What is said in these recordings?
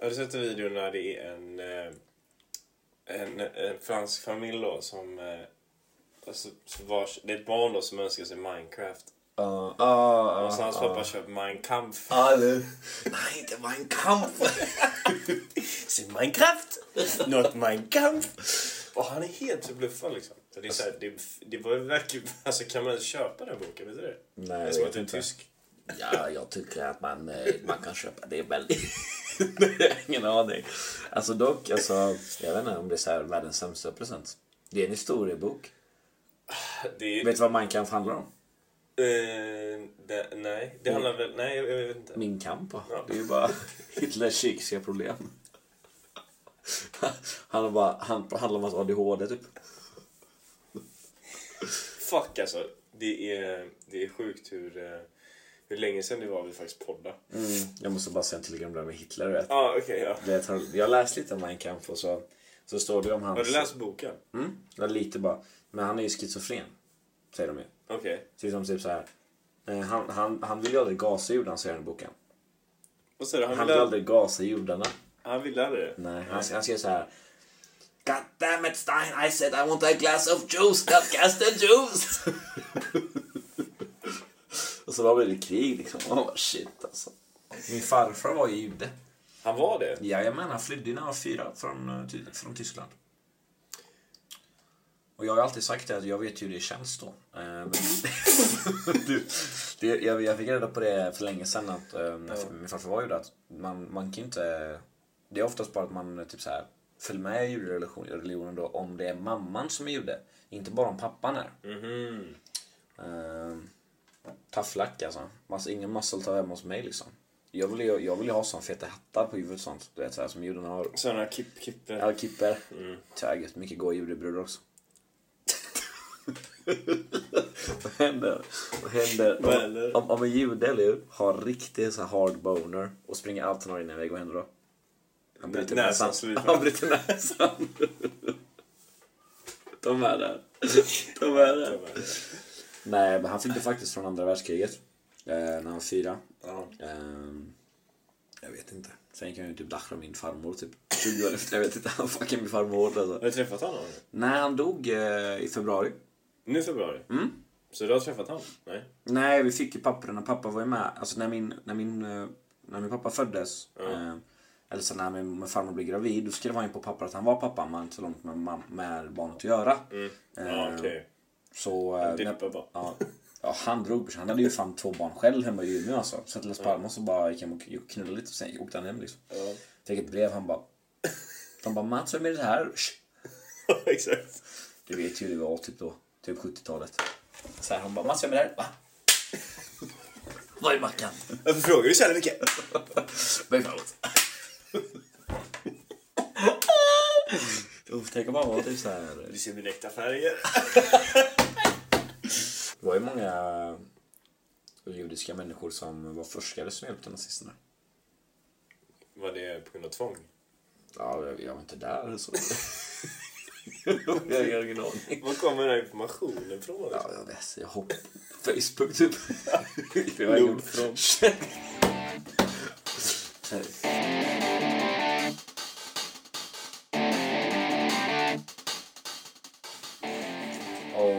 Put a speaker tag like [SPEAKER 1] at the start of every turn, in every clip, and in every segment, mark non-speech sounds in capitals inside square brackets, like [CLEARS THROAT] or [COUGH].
[SPEAKER 1] Har du sett en video när det är en, eh, en, en fransk familj då som... eh, Alltså, som vars, det är ett barn då som önskar sig Minecraft.
[SPEAKER 2] Ja, ja,
[SPEAKER 1] och så hans
[SPEAKER 2] ja.
[SPEAKER 1] pappa köper Mein Kampf.
[SPEAKER 2] Ja, det- Nej, inte Mein Kampf.
[SPEAKER 1] Sin Minecraft! [LAUGHS] Not Mein Kampf! Och han är helt förbluffad liksom. Så det, är så här, det, det var ju verkligen... [LAUGHS] Alltså kan man ens köpa den här boken? Vet du det?
[SPEAKER 2] Nej,
[SPEAKER 1] det är
[SPEAKER 2] jag
[SPEAKER 1] som
[SPEAKER 2] vet
[SPEAKER 1] att det är
[SPEAKER 2] inte.
[SPEAKER 1] tysk.
[SPEAKER 2] Ja, jag tycker att man, eh, man kan köpa det väldigt... [LAUGHS] Nej, jag har ingen aning. Alltså dock, alltså, jag vet inte om det är så här världens sämsta present. Det är en historiebok.
[SPEAKER 1] Det är,
[SPEAKER 2] Vet du vad Mein Kampf handlar om?
[SPEAKER 1] eh, det, nej,
[SPEAKER 2] Mm.
[SPEAKER 1] det handlar väl... Nej, jag, jag vet inte.
[SPEAKER 2] Min kamp. va?
[SPEAKER 1] Ja.
[SPEAKER 2] Det är ju bara [LAUGHS] Hitlers psykiska problem. Han, har bara, han handlar om hans ADHD typ.
[SPEAKER 1] Fuck alltså. Det är, det är sjukt hur, eh, hur länge sedan det var vi faktiskt podda.
[SPEAKER 2] Jag måste bara säga en telegram där med Hitler. du Vet.
[SPEAKER 1] Ja, ah, okej. ja.
[SPEAKER 2] Du vet, han- Jag läste lite om Mein Kampf och så, så står det om hans...
[SPEAKER 1] Har du läst boken?
[SPEAKER 2] Mm, ja, lite bara. Men han är ju schizofren. Säger de ju.
[SPEAKER 1] Okej.
[SPEAKER 2] Till som typ så här. eh, Han, han, han vill ju aldrig gasa judarna säger han i boken.
[SPEAKER 1] Vad säger du? Han
[SPEAKER 2] Han Mm. vill
[SPEAKER 1] ville aldrig...
[SPEAKER 2] aldrig gasa judarna.
[SPEAKER 1] Han ville aldrig det?
[SPEAKER 2] Nej, han, han skrev så här. God damn it Stein, I said I want a glass of juice, not custard juice! [LAUGHS] och så var det lite krig liksom. Oh, shit alltså. Min farfar var ju jude.
[SPEAKER 1] Han var det?
[SPEAKER 2] Jajamän, han flydde när han var fyra från, eh, Ty- från Tyskland. Och jag har ju alltid sagt det att jag vet ju hur det känns då. Eh, Men [LAUGHS] du, det, jag, jag fick reda på det för länge sedan att eh, när min farfar var ju det att man, man kan ju inte... Det är oftast bara att man eh, typ så här följer med i judereligionen religionen då om det är mamman som är jude. Inte bara om pappan är.
[SPEAKER 1] Mhm.
[SPEAKER 2] Uh, tough luck alltså. Massa, ingen muscle tar hem hos mig liksom. Jag vill ju, jag vill ju ha sån feta hattar på huvudet och sånt. Du vet såhär som judarna har.
[SPEAKER 1] Sådana kipp kipper.
[SPEAKER 2] Ja, kipper. Töget. Mycket goa judebrudar också. [LAUGHS] Vad händer? Vad händer?
[SPEAKER 1] Vad händer?
[SPEAKER 2] Om, om, om en jude, eller hur, har riktigt så här hard boner och springer allt han har innan iväg, vad händer då? Han bryter
[SPEAKER 1] Nä-
[SPEAKER 2] näsan.
[SPEAKER 1] näsan slutar.
[SPEAKER 2] [LAUGHS] Han bryter näsan. [LAUGHS] De är där. [LAUGHS] De är där. Nej, men han flydde faktiskt från andra världskriget. Eh, när han var fyra.
[SPEAKER 1] Ja.
[SPEAKER 2] Ehm, jag vet inte. Sen kan jag ju typ dachra min farmor typ 20 år efter. Jag vet inte, [LAUGHS] han fucking min farmor alltså.
[SPEAKER 1] Har du träffat honom?
[SPEAKER 2] Nej, han dog eh, i februari.
[SPEAKER 1] Nu i februari? Mm. Så du har träffat honom? Nej.
[SPEAKER 2] Nej, vi fick ju papperna. Pappa var ju med. Alltså när min, när min, eh, när min pappa föddes. Eh, eller så när min, min farmor blev gravid. Då skrev han ju på papper att han var pappa. Men inte så långt med, mam- med barnet att göra.
[SPEAKER 1] Ja,
[SPEAKER 2] Eh,
[SPEAKER 1] okej. [LAUGHS]
[SPEAKER 2] Så... eh,
[SPEAKER 1] dippar bara.
[SPEAKER 2] Ja, ja, han drog Han hade ju fan två barn själv hemma i Umeå alltså. Så till Las Palmas och bara gick hem och knullade lite och sen åkte han hem liksom.
[SPEAKER 1] Ja.
[SPEAKER 2] Fick ett brev, han bara... De bara Mats, vem är det här? Shh.
[SPEAKER 1] Exakt.
[SPEAKER 2] Du vet ju hur det var typ då. Typ 70-talet. Så här, hon bara Mats, vem är det här? Va? [LAUGHS] Var är Mackan?
[SPEAKER 1] Varför frågar du så jävla mycket?
[SPEAKER 2] Bergfallet. Tänk om han var typ såhär...
[SPEAKER 1] Du ser mina äkta färger.
[SPEAKER 2] Det var ju många judiska människor som var forskare som hjälpte nazisterna.
[SPEAKER 1] Var det på grund av tvång?
[SPEAKER 2] Ja, jag, jag var inte där så. [LAUGHS] jag har ingen aning.
[SPEAKER 1] Var kommer den här informationen ifrån?
[SPEAKER 2] Ja, jag vet. Jag hopp... Facebook typ. det var ingen...
[SPEAKER 1] Nordfront.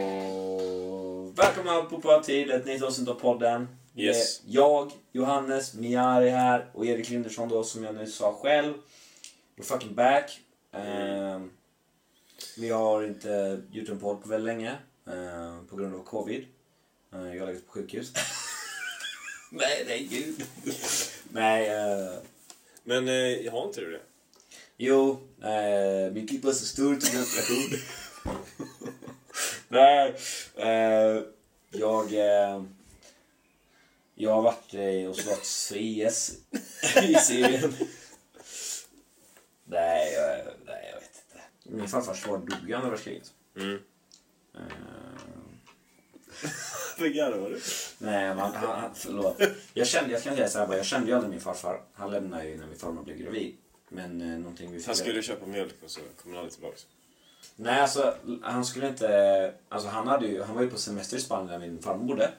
[SPEAKER 2] Och välkomna allihopa till ett nytt avsnitt av podden.
[SPEAKER 1] Yes.
[SPEAKER 2] Det är Jag, Johannes Miari här och Erik Lindersson då som jag nyss sa själv. We're fucking back. Ehm, vi har inte gjort en podd på väldigt länge ehm, på grund av covid. Eh, jag har legat på sjukhus. [LAUGHS] Nej, nej gud. Nej, eh,
[SPEAKER 1] Men eh, jag har inte du det?
[SPEAKER 2] jo, eh, min klipp var så stor till en operation. nej, eh, jag, eh, jag har varit eh, och slagits för IS i Syrien. nej, jag, nej, jag vet inte. Min farfars far dog ju andra världskriget.
[SPEAKER 1] Mm.
[SPEAKER 2] Eh,
[SPEAKER 1] Hur gammal var du?
[SPEAKER 2] Nej, man, han, han, förlåt. Jag kände, jag kan säga så här, bara, jag kände ju aldrig min farfar. Han lämnade ju när min farmor blev gravid. Men eh, någonting vi fick...
[SPEAKER 1] Han skulle köpa mjölk och så kom han aldrig tillbaka.
[SPEAKER 2] Nej, alltså han skulle inte... Alltså han, hade ju, han var ju på semester i Spanien där min farmor bodde.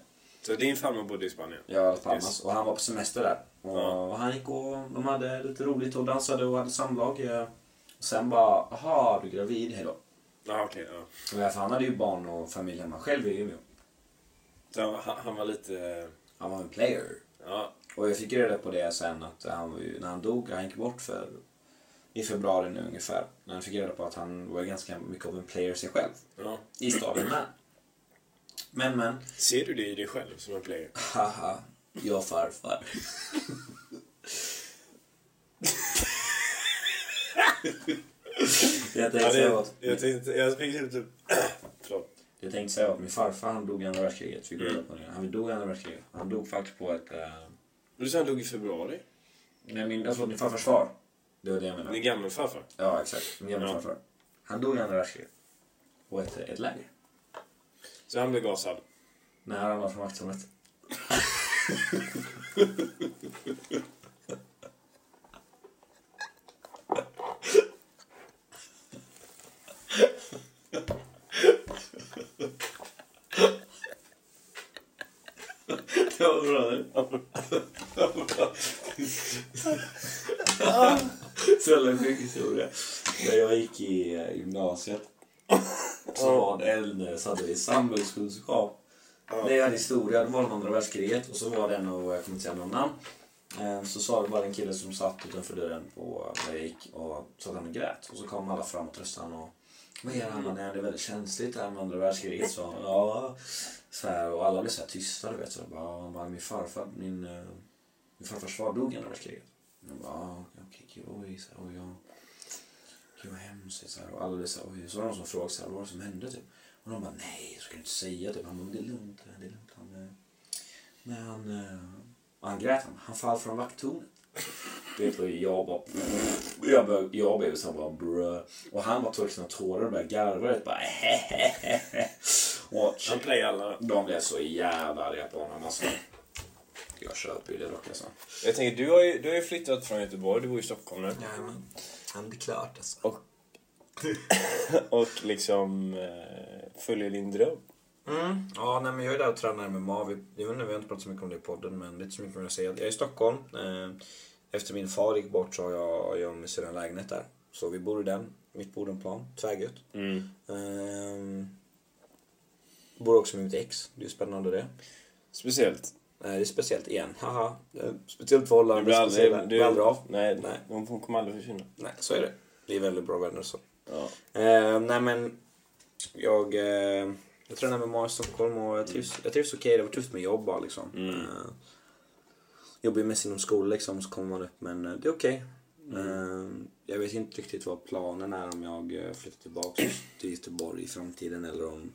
[SPEAKER 1] Så din farmor bodde i Spanien?
[SPEAKER 2] Jag Las Palmas.
[SPEAKER 1] Yes.
[SPEAKER 2] Och han var på semester där. Och
[SPEAKER 1] Ja.
[SPEAKER 2] Han gick och de hade lite roligt och dansade och hade samlag. eh. Och sen bara, aha, du är gravid, hejdå.
[SPEAKER 1] Ja, okej. ja.
[SPEAKER 2] Eh, För han hade ju barn och familj hemma själv i Umeå.
[SPEAKER 1] Så han, han han var lite...
[SPEAKER 2] Han var en player.
[SPEAKER 1] Ja,
[SPEAKER 2] Och jag fick ju reda på det sen att han var ju, när han dog, han gick bort för i februari nu ungefär. När han fick reda på att han var ganska mycket av en player sig själv.
[SPEAKER 1] ja.
[SPEAKER 2] I staden med. Men men.
[SPEAKER 1] Ser du det i dig själv som en player?
[SPEAKER 2] Haha, jag farfar. jag tänkte
[SPEAKER 1] det,
[SPEAKER 2] säga
[SPEAKER 1] jag,
[SPEAKER 2] att,
[SPEAKER 1] tänkte, jag fick typ... typ [CLEARS THROAT] förlåt.
[SPEAKER 2] jag tänkte säga att min farfar han dog i andra världskriget. Fick jag reda på det. Han dog i andra världskriget. Han dog faktiskt på ett... eh,
[SPEAKER 1] Du sa han dog i februari?
[SPEAKER 2] nej min, jag tror min farfars far. Det var det jag menade.
[SPEAKER 1] Din gammelfarfar?
[SPEAKER 2] Ja exakt, min gamla
[SPEAKER 1] Ja.
[SPEAKER 2] farfar. Han dog i andra världskriget. På ett, ett läger.
[SPEAKER 1] Så han blev gasad?
[SPEAKER 2] När han var från vaktrummet. Det var bra det. Så jävla sjuk historia. När jag gick i eh, gymnasiet så var det en så hade vi samhällskunskap. När jag hade historia, det var det andra världskriget och så var det en av, jag kommer inte säga någon namn, eh, så sa det bara en kille som satt utanför dörren på där jag gick och sa att han grät. Och så kom alla fram och tröstade honom. och vad är det han Det är väldigt känsligt det här med andra världskriget. Så, han, ja. så här, och alla blev så här tysta du vet. Så jag bara, ja, han bara, min farfar, min, eh, min farfars far dog i andra världskriget. Jag bara, ja, okej, okej, oj, så här, oj, ja. Gud vad hemskt. Så här, och alla blev så här, oj. Så var det någon som frågade så här, vad var det som hände typ. Och de bara, nej, så kan du inte säga typ. Han bara, det är lugnt, det är lugnt. Han, eh, men han, eh, och han grät, han, han fall från vakttornet. Det var jag bara... [LAUGHS] Jag, började, jag blev så här bara brö. Och han bara torkade sina tårar och började garva. vet, Bara, [LAUGHS] och
[SPEAKER 1] Han playade alla.
[SPEAKER 2] de blev så jävla arga på honom. Alltså. Jag köper ju det dock alltså.
[SPEAKER 1] Jag tänker, du har ju, du har ju flyttat från Göteborg, du bor i Stockholm nu.
[SPEAKER 2] Jajamän. Han blir klart alltså.
[SPEAKER 1] Och, [LAUGHS] och liksom eh, följer din dröm.
[SPEAKER 2] Mm. Ja, nej, men jag är där och tränar med Mavi. Jag vet inte, vi har inte pratat så mycket om det i podden, men det är inte så mycket mer att säga. Jag är i Stockholm. Eh, Efter min far gick bort så har jag, jag och min syrra en lägenhet där. Så vi bor i den, mitt på Odenplan. Tvärgött.
[SPEAKER 1] Mm.
[SPEAKER 2] Ehm, bor också med mitt ex. Det är ju spännande det.
[SPEAKER 1] Speciellt.
[SPEAKER 2] Eh, det är speciellt igen. Haha. Eh, Speciellt förhållande.
[SPEAKER 1] Du blir aldrig,
[SPEAKER 2] speciella-
[SPEAKER 1] du,
[SPEAKER 2] blir aldrig av.
[SPEAKER 1] Nej,
[SPEAKER 2] Nej.
[SPEAKER 1] nej. Hon, hon kommer aldrig försvinna.
[SPEAKER 2] Nej, så är det. Vi är väldigt bra vänner så.
[SPEAKER 1] Ja.
[SPEAKER 2] Eh, nej men, jag, eh, jag tränar med Mara i Stockholm och jag trivs, jag trivs okej. Det var tufft med jobb bara liksom.
[SPEAKER 1] Mm.
[SPEAKER 2] Eh, jobbar ju mest inom skolexamen så kommer man upp men eh, det är okej. Eh, jag vet inte riktigt vad planen är om jag eh, flyttar tillbaka till Göteborg i framtiden eller om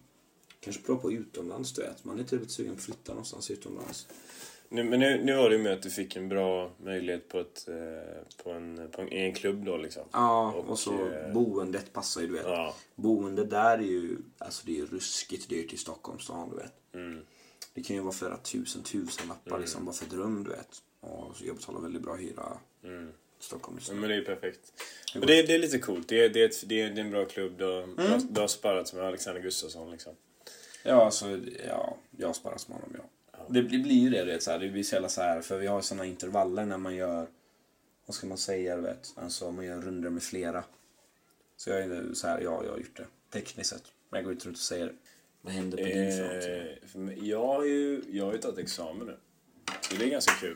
[SPEAKER 2] Kanske prova på utomlands du vet. Man är typ lite sugen på att flytta någonstans utomlands.
[SPEAKER 1] Nu, men nu, nu var det ju med att du fick en bra möjlighet på, ett, eh, på, en, på en, i en klubb då liksom.
[SPEAKER 2] Ja, och,
[SPEAKER 1] Och,
[SPEAKER 2] så
[SPEAKER 1] eh,
[SPEAKER 2] boendet passar ju du vet.
[SPEAKER 1] Ja.
[SPEAKER 2] Boende där är ju, alltså det är ju ruskigt dyrt i Stockholms stad du vet.
[SPEAKER 1] Mm.
[SPEAKER 2] Det kan ju vara flera tusen, tusen lappar liksom bara för ett rum du vet. Och så jag betalar väldigt bra hyra
[SPEAKER 1] Mm.
[SPEAKER 2] i Stockholm just
[SPEAKER 1] Ja,
[SPEAKER 2] nu.
[SPEAKER 1] men det är ju perfekt. Och det, är- det är lite coolt. Mm. Det är, det är, ett, det är, det är en bra klubb. Du har, du har, du har sparrat med Alexander Gustafsson liksom.
[SPEAKER 2] Ja, alltså, ja, jag sparar som honom, ja. Det, blir- det blir ju det, du vet, så här, det blir så jävla så här, för vi har sådana intervaller när man gör, vad ska man säga, du vet, alltså man gör runder med flera. Så jag är nu så här, ja, jag har gjort det, tekniskt sett. Men jag går inte runt och säger, vad händer på din front?
[SPEAKER 1] Eh, för mig- jag, har ju, jag har ju tagit examen nu. Så det är ganska kul.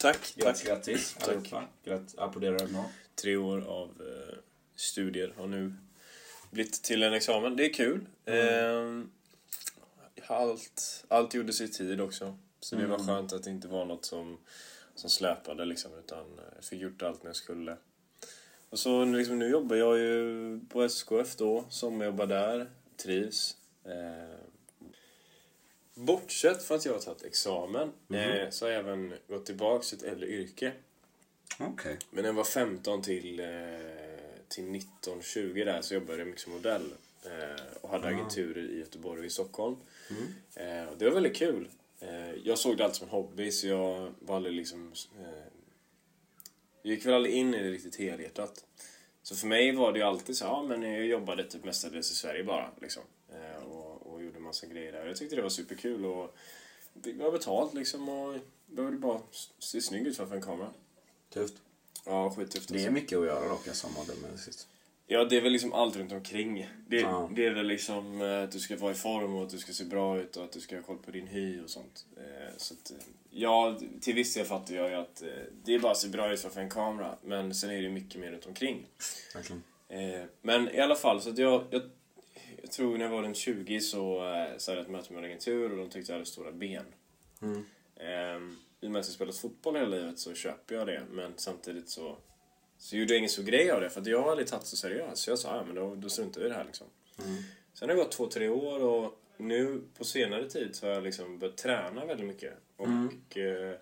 [SPEAKER 1] tack,
[SPEAKER 2] Grattis,
[SPEAKER 1] tack.
[SPEAKER 2] grattis allihopa. Grattis, applåderar du någon?
[SPEAKER 1] Tre år av eh, studier har nu blivit till en examen. Det är kul. Eh, allt, allt gjordes i tid också. Så det var skönt att det inte var något som, som släpade liksom. Utan jag fick gjort allt när jag skulle. Och så nu, liksom, nu jobbar jag ju på SKF då. Sommarjobbar där. Trivs. Eh, bortsett från att jag har tagit examen eh, så har jag även gått tillbaka till ett äldre yrke.
[SPEAKER 2] Okej.
[SPEAKER 1] Men när jag var 15 till, eh, till 19, 20 där så jobbade jag mycket som modell. Eh, och hade agenturer i Göteborg och i Stockholm. Eh, och det var väldigt kul. Eh, jag såg det alltid som en hobby så jag var aldrig liksom... Eh, jag gick väl aldrig in i det riktigt helhjärtat. Så för mig var det ju alltid så, ja men jag jobbade typ mestadels i Sverige bara liksom. Eh, och, och gjorde massa grejer där. Jag tyckte det var superkul och fick bra betalt liksom och behövde bara se snygg ut framför en kamera.
[SPEAKER 3] Tufft.
[SPEAKER 1] Ja, skittufft
[SPEAKER 3] Det är mycket att göra dock, jag sammanhängde sist.
[SPEAKER 1] Ja, det är väl liksom allt runt omkring. Det,
[SPEAKER 3] Ja.
[SPEAKER 1] det är väl liksom eh, att du ska vara i form och att du ska se bra ut och att du ska ha koll på din hy och sånt. Eh, Så att, eh, ja, till viss del fattar jag ju att eh, det är bara att se bra ut framför en kamera, men sen är det mycket mer runt omkring.
[SPEAKER 3] Verkligen.
[SPEAKER 1] Eh, Men i alla fall, så att jag, jag, jag tror när jag var runt 20 så, eh, så hade jag ett möte med en agentur och de tyckte jag hade stora ben.
[SPEAKER 3] Mm.
[SPEAKER 1] Ehm, I och med att jag spelat fotboll hela livet så köper jag det, men samtidigt så, så gjorde jag ingen så grej av det för att jag har aldrig tagit så seriöst. Så jag sa, ja men då, då struntar vi i det här liksom.
[SPEAKER 3] Mm.
[SPEAKER 1] Sen har det gått två, tre år och nu på senare tid så har jag liksom börjat träna väldigt mycket. Och
[SPEAKER 3] Mm.
[SPEAKER 1] eh,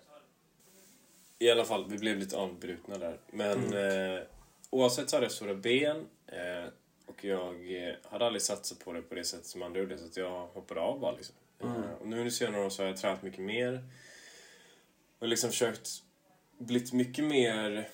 [SPEAKER 1] i alla fall, vi blev lite avbrutna där. Men eh, oavsett så hade jag stora ben eh, och jag eh, hade aldrig satsat på det på det sättet som andra gjorde så att jag hoppade av bara liksom. Eh, och nu under senare år så har jag tränat mycket mer och liksom försökt blivit mycket mer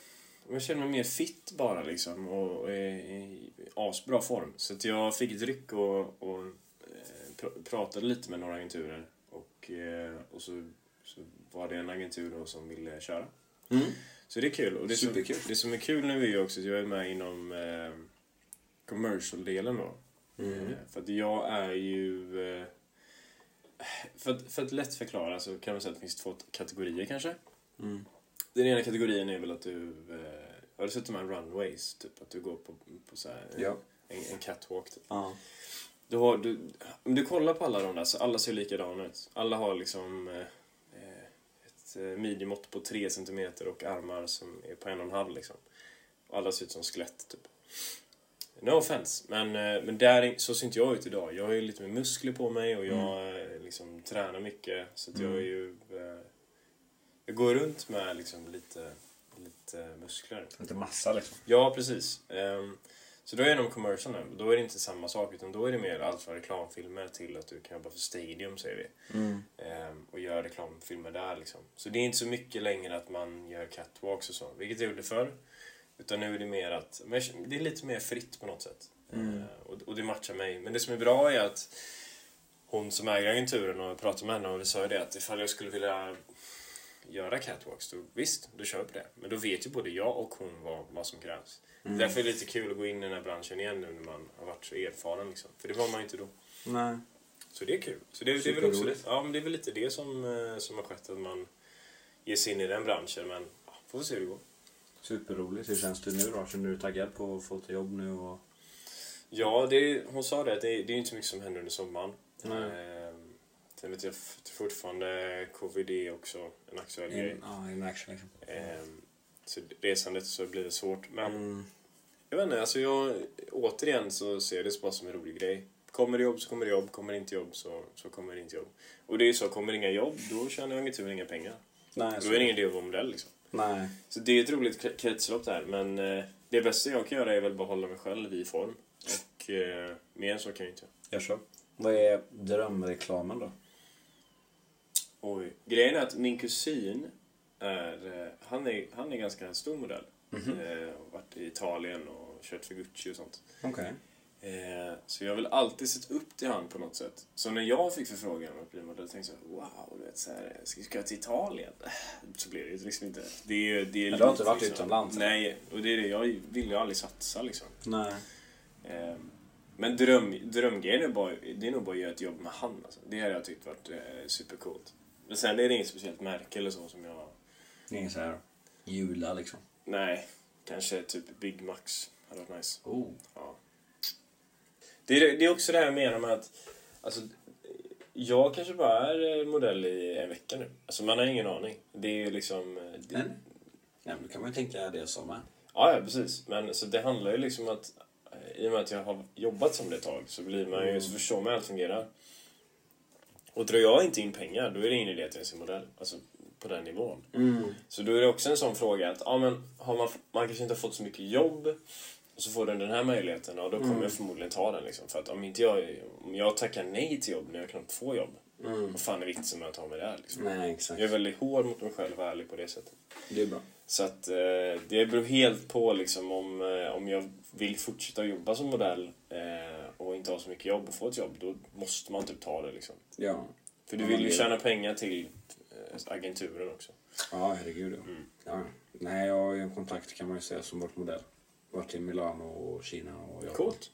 [SPEAKER 1] jag känner mig mer fit bara liksom och, och är i asbra form. Så att jag fick ett ryck och, och eh, pr- pratade lite med några agenturer. Och, eh, och så, så var det en agentur då som ville köra. Så det är kul. Och det, är så,
[SPEAKER 3] Superkul.
[SPEAKER 1] det som är kul nu är ju också att jag är med inom eh, commercial-delen då.
[SPEAKER 3] Mm.
[SPEAKER 1] Eh, för att jag är ju... Eh, för, att, för att lätt förklara så kan man säga att det finns två kategorier kanske.
[SPEAKER 3] Mm.
[SPEAKER 1] Den ena kategorin är väl att du... Eh, har du sett de här runways? Typ att du går på, på så här,
[SPEAKER 3] Ja.
[SPEAKER 1] en, en catwalk. Typ.
[SPEAKER 3] Ja.
[SPEAKER 1] Du har, du, om du kollar på alla de där så alla ser likadana ut. Alla har liksom eh, eh, ett eh, midjemått på 3 cm och armar som är på en och en halv liksom. Och alla ser ut som skelett typ. No offense, men, eh, men där, är- så ser inte jag ut idag. Jag har ju lite mer muskler på mig och jag eh, liksom, tränar mycket. Så att jag är ju... Eh, jag går runt med liksom, lite, lite muskler.
[SPEAKER 3] Inte massa liksom.
[SPEAKER 1] Ja, precis. Ehm, så då är de commercial nu. Då är det inte samma sak, utan då är det mer allt från reklamfilmer till att du kan jobba för Stadium, säger vi. Ehm, och göra reklamfilmer där liksom. Så det är inte så mycket längre att man gör catwalks och så, vilket jag gjorde förr. Utan nu är det mer att, men jag känner- det är lite mer fritt på något sätt. Ehm, och, och det matchar mig. Men det som är bra är att hon som äger agenturen och jag pratade med henne och vi sa ju det att ifall jag skulle vilja göra catwalks, då, visst, då kör vi på det. Men då vet ju både jag och hon vad, vad som krävs. Därför är det lite kul att gå in i den här branschen igen nu när man har varit så erfaren. Liksom. För det var man ju inte då.
[SPEAKER 3] Nej.
[SPEAKER 1] Så det är kul. Så det, det, är väl också,
[SPEAKER 3] Superroligt.
[SPEAKER 1] ja, men det är väl lite det som, eh, som har skett, att man ger sig in i den branschen. Men ja, får vi se hur det går.
[SPEAKER 3] Superroligt. Hur känns du nu då? Känner du dig taggad på att få ett jobb nu? Och...
[SPEAKER 1] Ja, det, hon sa det, att det, det är inte så mycket som händer under sommaren.
[SPEAKER 3] Nej.
[SPEAKER 1] Ehm, Sen vet jag f- fortfarande covid är också en aktuell grej.
[SPEAKER 3] Ja, in action liksom.
[SPEAKER 1] Ehm, Så resandet så blir det svårt. Men
[SPEAKER 3] Mm.
[SPEAKER 1] Jag vet inte, alltså jag, återigen så ser jag det bara som en rolig grej. Kommer det jobb så kommer det jobb, kommer det inte jobb så, så kommer det inte jobb. Och det är ju så, kommer det inga jobb då tjänar jag tur inga pengar.
[SPEAKER 3] Nej,
[SPEAKER 1] Då är det ingen idé att vara modell liksom.
[SPEAKER 3] Nej.
[SPEAKER 1] Så det är ett roligt kre- kretslopp där men eh, det bästa jag kan göra är väl bara hålla mig själv i form. Och eh, mer än så kan jag inte.
[SPEAKER 3] Jag kör. Vad är drömreklamen då?
[SPEAKER 1] Oj. Grejen är att min kusin är, eh, han är, han är ganska stor modell.
[SPEAKER 3] Mhm.
[SPEAKER 1] Eh, har varit i Italien och kört för Gucci och sånt.
[SPEAKER 3] Okej.
[SPEAKER 1] Eh, Så jag har väl alltid sett upp till han på något sätt. Så när jag fick förfrågan om att bli modell tänkte jag så här, wow, du vet så här, ska ska jag till Italien? Eh, Så blev det ju liksom inte. Det är, ju- det är
[SPEAKER 3] Men du har
[SPEAKER 1] lite
[SPEAKER 3] inte
[SPEAKER 1] liksom-
[SPEAKER 3] varit utomlands, eller?
[SPEAKER 1] Nej, och det är det. Jag vill ju aldrig satsa liksom.
[SPEAKER 3] Nej.
[SPEAKER 1] Eh, Men dröm, drömgrejen är, bara, det är nog bara att göra ett jobb med han. Alltså. Det hade jag tyckt varit eh, supercoolt. Men sen är det inget speciellt märke eller så som jag...
[SPEAKER 3] Det är ingen så här jula liksom.
[SPEAKER 1] Nej, kanske typ Big Max hade varit nice.
[SPEAKER 3] Oh.
[SPEAKER 1] Ja. Det, är, det är också det här jag menar med att alltså, jag kanske bara är eh, modell i en vecka nu. Alltså man har ingen aning. Det är ju liksom... Det,
[SPEAKER 3] Nej. Nej, men då kan man ju tänka det som med.
[SPEAKER 1] ja, ja, precis. Men så det handlar ju liksom att eh, i och med att jag har jobbat som det ett tag så blir man ju, så förstår man hur allt fungerar. Och drar jag inte in pengar då är det ingen idé att jag ens är modell. Alltså på den nivån. Så då är det också en sån fråga att ja, men har man, man kanske inte har fått så mycket jobb och så får den den här möjligheten och då kommer jag förmodligen ta den. Liksom, för att om, inte jag, om jag tackar nej till jobb när jag knappt får jobb, vad fan är vitsen med att ha mig där? Liksom?
[SPEAKER 3] Nej, exakt.
[SPEAKER 1] Jag är väldigt hård mot mig själv och ärlig på det sättet.
[SPEAKER 3] Det är bra.
[SPEAKER 1] Så att eh, det beror helt på liksom om, eh, om jag vill fortsätta jobba som modell eh, och inte ha så mycket jobb och få ett jobb, då måste man typ ta det liksom.
[SPEAKER 3] Ja.
[SPEAKER 1] För du
[SPEAKER 2] Om
[SPEAKER 1] vill
[SPEAKER 2] man
[SPEAKER 1] ju
[SPEAKER 2] vill.
[SPEAKER 1] tjäna pengar till eh, agenturen också.
[SPEAKER 2] Ja, herregud ja. ja. Nej, jag har ju en kontakt kan man ju säga som varit modell. Varit i Milano och Kina och Japan.
[SPEAKER 1] Coolt.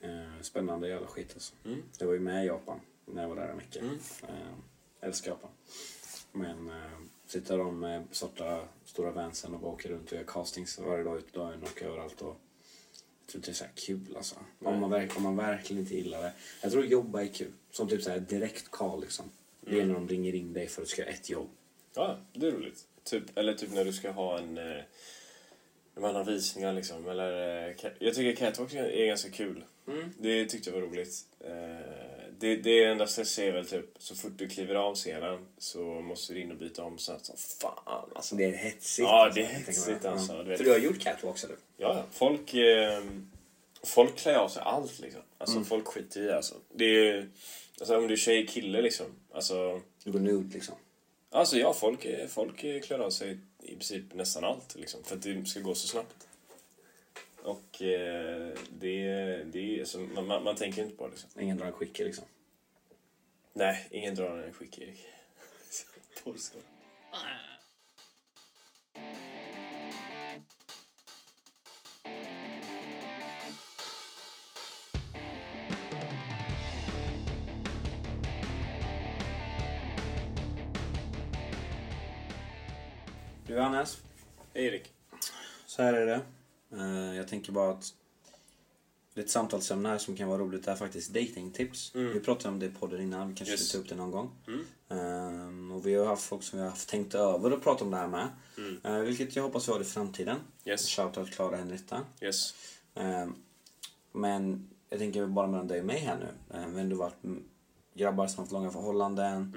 [SPEAKER 2] Eh, spännande jävla skit alltså.
[SPEAKER 1] Mm.
[SPEAKER 2] Jag var ju med i Japan när jag var där en vecka.
[SPEAKER 1] Mm.
[SPEAKER 2] Eh, älskar Japan. Men eh, sitter de med svarta stora vansen och bara åker runt och gör castings varje dag ut och dagen och överallt. Och, jag tror inte det är så här kul alltså. Om man, verk, om man verkligen inte gillar det. Jag tror jobba är kul. Som typ så här direkt call liksom. Det är när de ringer in dig för att du ska göra ett jobb.
[SPEAKER 1] Ja, det är roligt. Typ, eller typ när du ska ha en... eh, När man har visningar liksom. Eller, eh, ca- jag tycker catwalk är ganska kul. Det tyckte jag var roligt. Eh, Det, det enda stressiga är väl typ så fort du kliver av scenen så måste du in och byta om snabbt som fan alltså.
[SPEAKER 2] Så det är hetsigt.
[SPEAKER 1] Ja, det är
[SPEAKER 2] jag tänker mig.
[SPEAKER 1] hetsigt alltså.
[SPEAKER 2] Ja.
[SPEAKER 1] Du vet.
[SPEAKER 2] För du har gjort catwalks eller?
[SPEAKER 1] Ja, ja. folk, eh, folk klär av sig allt liksom. Alltså folk skiter i alltså. Det är, alltså om du är tjej, kille liksom. Alltså,
[SPEAKER 2] Du går nude liksom.
[SPEAKER 1] alltså ja, folk, eh, folk eh, klär av sig i princip nästan allt liksom. För att det ska gå så snabbt. Och eh, det, det är, alltså, man, man, man tänker inte på det liksom.
[SPEAKER 2] Ingen drar en skicke liksom.
[SPEAKER 1] Nej, ingen drar en [LAUGHS] skick-Erik. Polska.
[SPEAKER 2] Du Hannes,
[SPEAKER 1] Hej Erik.
[SPEAKER 2] så här är det. Eh, Jag tänker bara att det är ett samtalsämne här som kan vara roligt är faktiskt datingtips. Vi pratade om det i podden innan, vi kanske
[SPEAKER 1] Yes.
[SPEAKER 2] ska ta upp det någon gång. Eh, Och vi har haft folk som vi har haft tänkt över och pratat om det här med. Eh, Vilket jag hoppas vi har i framtiden.
[SPEAKER 1] Yes.
[SPEAKER 2] Shoutout Klara Henrietta.
[SPEAKER 1] Yes.
[SPEAKER 2] Eh, Men jag tänker bara mellan dig och mig här nu. Eh, Vi har ändå varit mm, grabbar som haft långa förhållanden,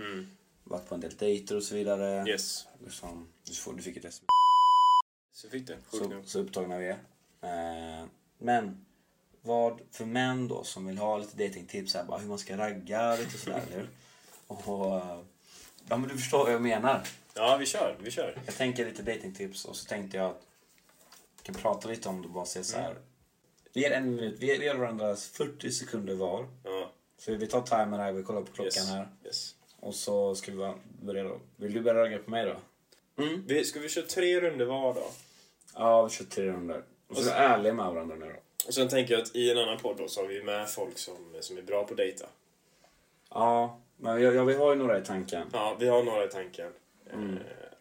[SPEAKER 2] varit på en del dejter och så vidare.
[SPEAKER 1] Yes.
[SPEAKER 2] Liksom, du, får, du fick ett sms.
[SPEAKER 1] Så fick det. Sjukt
[SPEAKER 2] Så,
[SPEAKER 1] nog.
[SPEAKER 2] så upptagna vi är. Eh, men vad för män då som vill ha lite datingtips här, bara hur man ska ragga och lite sådär, eller hur? Och, eh, ja men du förstår vad jag menar.
[SPEAKER 1] Ja, vi kör. Vi kör.
[SPEAKER 2] Jag tänker lite datingtips och så tänkte jag att vi kan prata lite om det och bara säga så
[SPEAKER 1] Mm.
[SPEAKER 2] här. Vi ger en minut, vi vi ger varandra 40 sekunder var.
[SPEAKER 1] Ja.
[SPEAKER 2] Så vi tar timer här, vi kollar på klockan
[SPEAKER 1] Yes.
[SPEAKER 2] här.
[SPEAKER 1] Yes.
[SPEAKER 2] Och så ska vi bara börja då. Vill du börja ragga på mig då?
[SPEAKER 1] Vi, ska vi köra tre runder var då?
[SPEAKER 2] Ja, vi kör 300. Och så är vi ärliga med varandra nu då.
[SPEAKER 1] Och sen tänker jag att i en annan podd då så har vi med folk som, som är bra på att dejta.
[SPEAKER 2] Ja, men jag, jag, vi har ju några i tanken.
[SPEAKER 1] Ja, vi har några i tanken. Eh,